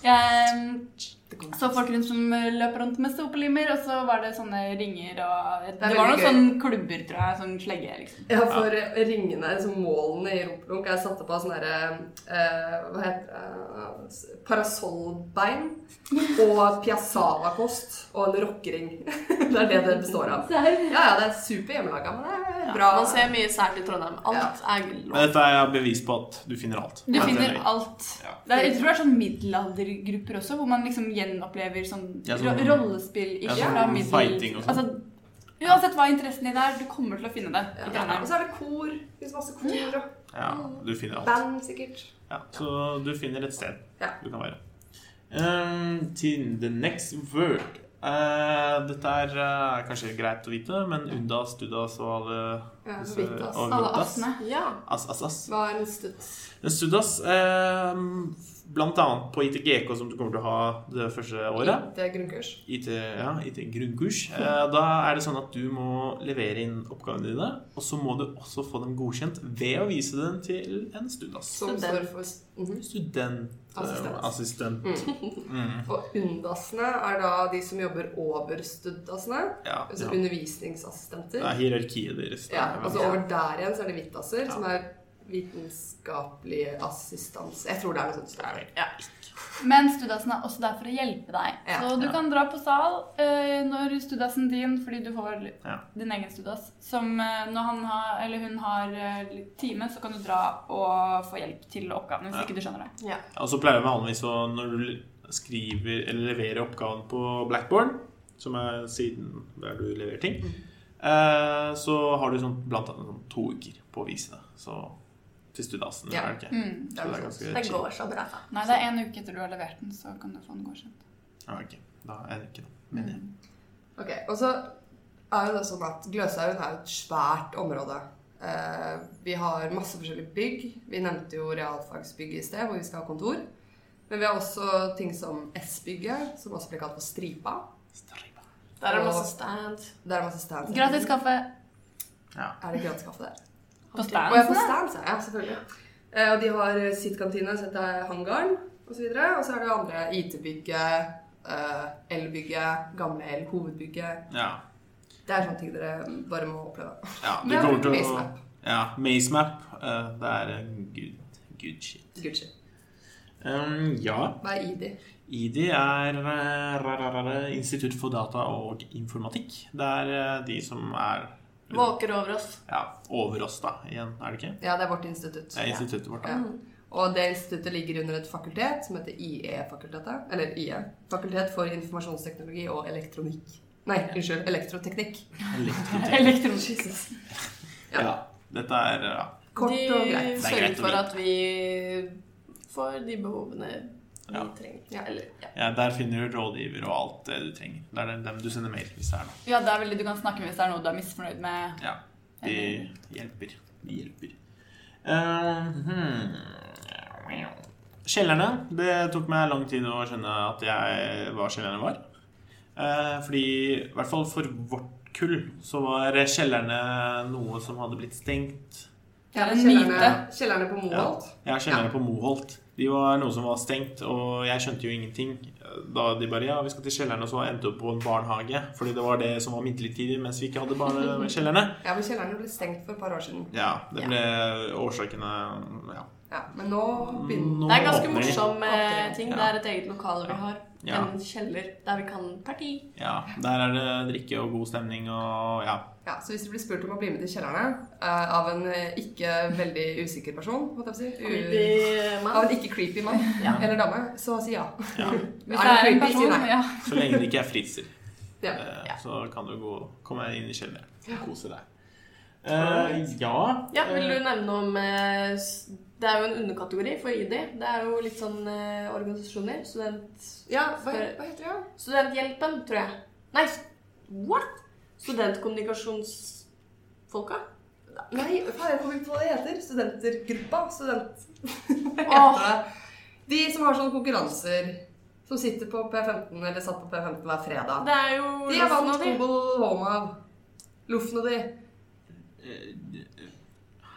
Jeg mm, Det kom- så folk rundt som løp rundt med sopelimer, og så var det sånne ringer og Det, veldig var noen gøy. sånne klubber, tror jeg. Sånn slegge, liksom. Ja, for ringene, altså målene i rumpelunk er satt opp av sånne her, sånn eh, hva heter det, s- parasollbein og piazzavakost og en rockering. det er det det består av. Ja, ja, det er super hjemmelaga, men det er bra. Man ser mye sært i Trondheim. Alt er Men lov. dette er bevis på at du finner alt. Du på finner NTNU. alt. Ja. Det er, jeg tror det er sånn middelaldergrupper også, hvor man liksom gjenopplever sånn, Ja, sånn- ro- rollespill ja, ikke sånn fra middel... fighting og sånn. Altså, uansett hva interessen din er, du kommer til å finne det. Ja, i og Trondheim. så er det kor. Det finnes masse kor og Ja, du finner alt. band, sikkert. Ja, så du finner et sted Ja. du kan være. Ehm, til the next word. Eh, dette er eh, kanskje greit å vite, men undas, dudas og alle Ja, disse- Vitas. og Alle vintas. assene. Ja. Ass, ass, ass. Hva er en studs? Men Studas, ehm, blant annet på ITGK, som du kommer til å ha det første året. Det er grunnkurs. IT, ja, IT grunnkurs. Eh, da er det sånn at du må levere inn oppgavene dine, og så må du også få dem godkjent ved å vise dem til en Studas. eh, Som Student. står for Mhm. Assistent. Studentassistent. Mm. Og undasene er da de som jobber over studdasene. Ja, Altså ja. undervisningsassistenter. Det er hierarkiet deres. Ja, Det er altså veldig- Over der igjen så er det hvittasser, Ja. som er vitenskapelig assistanse. Jeg tror det er noe sånt. Jeg vet. Det ja. Men studasen er også der for å hjelpe deg. Ja. så du Ja. kan dra på sal eh, når studasen din, fordi du får Ja. din egen studas, som eh, når han har, eller hun har eh, litt time, så kan du dra og få hjelp til oppgavene, hvis Ja. ikke du skjønner det. Og så pleier jeg vanligvis å Når du skriver eller leverer oppgaven på Blackboard, som er siden der du leverer ting, Mm. eh, så har du sånn, blant annet sånn to uker på å vise det. Så til studasen, Ja. er det ikke? Mm. Så det er ganske Det chill. går så bra. Nei, det er en uke etter du har levert den, så kan du få den godkjent. Ja, ok. Da er det ikke det. Mm. Men jeg. er. Ok, Og så er jo det sånn at Gløshaugen er jo et svært område. Eh, vi har masse forskjellige bygg. Vi nevnte jo realfagsbygget i sted, hvor vi skal ha kontor. Men vi har også ting som S-bygget, som også blir kalt for Stripa. Stripa. Der er det Og- masse stand. Der er masse stands. Gratis kaffe Ja. Er det gratis kaffe der? på Og jeg standsen. får stands, ja, ja, selvfølgelig. Eh, og de har eh, sitt kantine, så dette er hangaren osv. Og, så videre. og så er det andre IT-bygget, eh, elbygget, gamle el, hovedbygget. ja. Det er sånne ting dere bare må oppleve. ja. Du Det er kommer til å Maze Map. Ja. Mazemap. Eh, det er en good, good shit. Gucci. Um, ja. Hva er ID? IDI er eh, ra, ra, ra, ra, Institutt for data og informatikk. Det er eh, de som er Våker over oss. ja, over oss, da, igjen, er det ikke? Ja, det er vårt institutt. Det er instituttet vårt, Ja. da. Og det instituttet ligger under et fakultet som heter IE-fakultetet. Eller IE. Fakultet for informasjonsteknologi og elektronikk. Nei, unnskyld. Elektroteknikk. Elektrotek. Elektronisk. Ja. Ja. Dette er eh, ja. Kort og greit. De Det er greit sørger å vite. for at vi får de behovene vi Ja. trenger. Ja. Eller, ja. Ja, der finner du rådgiver og alt det du trenger. Det er dem du sender mail hvis det er noe. Ja, det er veldig du kan snakke med hvis det er noe du er misfornøyd med. Ja, de hjelper. De hjelper. Eh, hmm. Kjellerne. Det tok meg lang tid å skjønne at jeg hva kjellerne var. Eh, fordi, i hvert fall for vårt kull, så var kjellerne noe som hadde blitt stengt. Det er en myte. Kjellerne, kjellerne på Moholt. Ja, kjellerne på Moholt. De var noe som var stengt, og jeg skjønte jo ingenting. Da de bare ja, vi skal til kjellerne, og så endte vi opp på en barnehage. Fordi det var det som var midlertidig mens vi ikke hadde barne- kjellerne. Ja, men kjellerne ble stengt for et par år siden. Ja, det ble årsakene ja. Ja, men nå begynner Nå Det er ganske åpner de. morsom eh, Åpner. ting. Ja. Det er et eget lokale vi har. Ja. En kjeller der vi kan parti. Ja, der er det drikke og god stemning og ja. ja, Så hvis du blir spurt om å bli med til kjellerne eh, av en eh, ikke veldig usikker person, holdt jeg på å si, u- Creepy av mann. en Mm. ikke creepy mann Ja. eller dame, så si ja. ja. Hvis det er en creepy, si person, nei. ja. Så lenge det ikke er fritser, Ja. eh, Ja. så kan du gå, komme inn i kjelleren og kose deg. Eh, ja Ja, vil du nevne om eh, s- Det er jo en underkategori for ID. Det er jo litt sånn eh, organisasjoner. Student, ja hva, hva heter det? studenthjelpen, tror jeg. Nei, s- what? Studentkommunikasjonsfolka? Nei, faen, jeg kommer ikke på hva det heter. Studentergruppa. Student... Åh. Heter det. De som har sånne konkurranser. Som sitter på P15, eller satt på P15 hver fredag. Det er jo De har noe vant sånt. Kobol Home av. Loffen og de.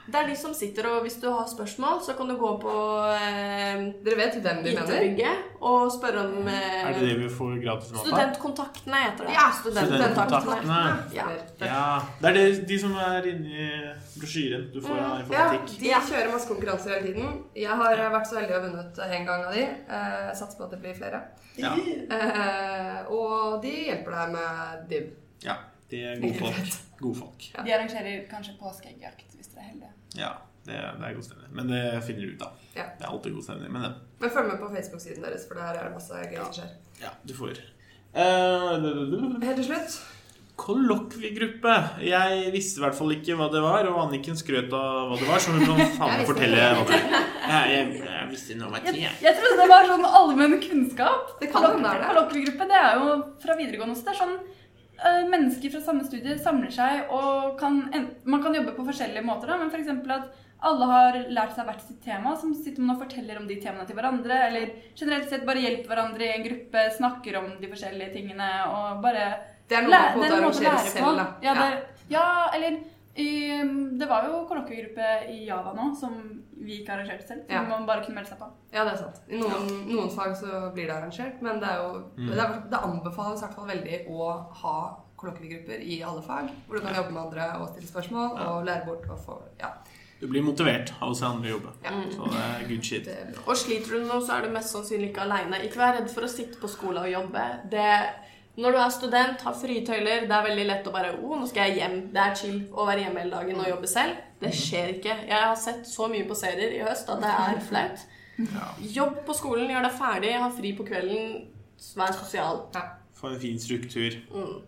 Det er de som sitter og hvis du har spørsmål, så kan du gå på eh, Dere vet hvem de mener? IT-bygget og spørre om eh, Er det det vi får gratis mat av? Studentkontaktene heter det. Ja, Studentkontaktene. Ja. Ja. Ja, det er de, de som er inni brosjyren du får Mm, av Ja, informatikk. de kjører masse konkurranser hele tiden. Jeg har vært så heldig å ha vunnet en gang av de. Eh, Satser på at det blir flere. Ja, Eh, og de hjelper deg med div. ja de er gode folk. Gode folk. Ja. De arrangerer kanskje påskeeggjakt, hvis dere er heldige. Ja, det, det er god stemning. Men det finner du ut av. Ja. Det er alltid god stemning med dem. Men følg med på Facebook-siden deres, for der er det masse gøy som skjer. Ja, du får. Uh, Helt til slutt Kollokviegruppe. Jeg visste i hvert fall ikke hva det var, og Anniken skrøt av hva det var, så hun kan faen meg Jeg visste fortelle hva det er. Jeg, jeg, jeg visste noe om det. jeg. Jeg trodde det var sånn allmenn kunnskap. Det kan hende det er det. Kollokviegruppe, det er jo fra videregående også. Det er sånn eh, mennesker fra samme studie samler seg og kan en- Man kan jobbe på forskjellige måter, da, men f.eks. at alle har lært seg hvert sitt tema, som sitter man og forteller om de temaene til hverandre. Eller generelt sett bare hjelper hverandre i en gruppe, snakker om de forskjellige tingene og bare Det er noe Læ- man på en det måte er en måte å arrangerer lære selv, da. på. Ja, Ja. det er, ja eller ehm, Det var jo kollokviegruppe i Java nå, som vi ikke arrangerte selv. Som Ja. man bare kunne melde seg på. Ja, det er sant. I noen, noen fag så blir det arrangert, men det, er jo, det, er, det anbefales i hvert fall veldig å ha kollokviegrupper i alle fag, hvor du kan jobbe med andre og stille spørsmål og lære bort og få Ja. Du blir motivert av å se andre jobbe. Ja. Så det er good shit. Det er bra. Og sliter du nå, så er du mest sannsynlig ikke aleine. Ikke vær redd for å sitte på skole og jobbe. Det, når du er student, har fritøyler, det er veldig lett å bare Å, nå skal jeg hjem. Det er chill å være hjemme hele Mm. dagen og jobbe selv. Det skjer ikke. Jeg har sett så mye på serier i høst at det er flaut. Ja. Jobb på skolen, gjør deg ferdig, ha fri på kvelden. Vær sosial. Ja, Få en fin struktur. Mm.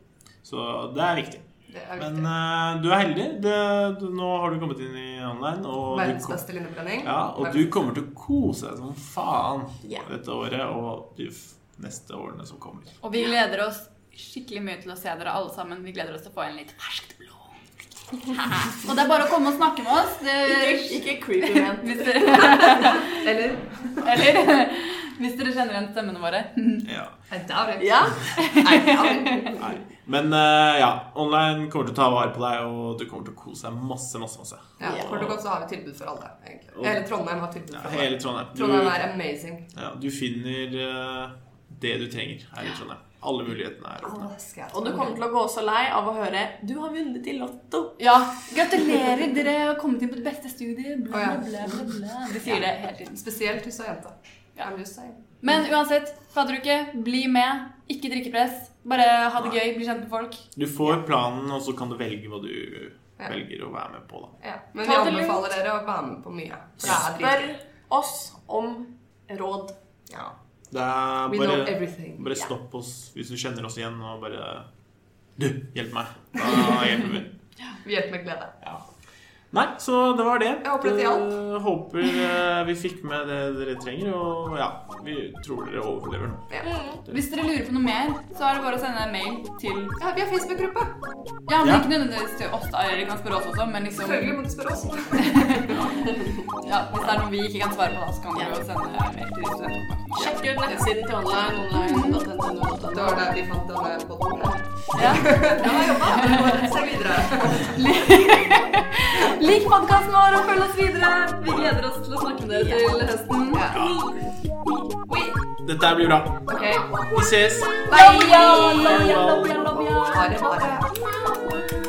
Så det er viktig. det er Men viktig. eh, du er heldig. Det, du, nå har du kommet inn i online. Og Verdens du, kom- beste linnebrenning. ja, og du kommer til å kose deg som faen Ja. dette året og de f- neste årene som kommer. Og vi gleder oss skikkelig mye til å se dere alle sammen. Vi gleder oss til å få en litt ferskt blod. og det er bare å komme og snakke med oss. Det, Ikke, ikke creepy man. hvis dere, Eller eller hvis dere kjenner igjen stemmene våre. Mm. Ja. I doubt it. Ja. I doubt it. Nei. Men eh, ja, online kommer til å ta vare på deg, og du kommer til å kose deg masse, masse, masse. Ja, kort og godt så har vi tilbud for alle. egentlig. Eller Trondheim har tilbud Ja, for alle. hele Trondheim. Trondheim Du, er amazing. ja, du finner eh, det du trenger her i Trondheim. Alle mulighetene er åpne. Alle skal jeg Og du kommer til å gå så lei av å høre 'Du har vunnet i Lotto'. Ja, Gratulerer, dere har kommet inn på det beste studiet. Å, Bla, ja. bla, bla, bla. De sier det hele tiden. Spesielt hvis du er jente. I'm just saying. Men uansett, fadderuke, bli med. Ikke drikkepress. Bare ha det gøy, bli kjent med folk. Du får planen, og så kan du velge hva du Ja. velger å være med på, da. Ja. Men Ta vi det lugnt. anbefaler dere å være med på mye. For det er Spør dritgøy. oss om råd. Ja. Det er We bare know everything. Bare stopp oss hvis du kjenner oss igjen, og bare Du, hjelp meg. Da hjelper vi. Vi hjelper med glede. Ja. Nei, så det var det. Jeg håper dette hjalp. Eh, håper eh, vi fikk med det dere trenger, og ja, vi tror dere overlever nå. Mm. Hvis dere lurer på noe mer, så er det bare å sende en mail til Ja, vi har Facebook-gruppe. Ja, men Ja. ikke nødvendigvis til oss, da. Eller dere kan spørre oss også, men liksom Selvfølgelig må du spørre oss. ja, Hvis det er noe vi ikke kan svare på, da, så kan dere jo sende en mail til studentene. Sjekk ut nettsiden til online. online.ntnu.no. Det var der vi fant denne podden. Ja. Bra jobba. Se videre. Lik podkasten vår og følg oss videre! Vi gleder oss til å snakke med dere til høsten. Dette her blir bra. Ok. Vi ses. Love ya, love ya, love ya, love ya. Ha det bra.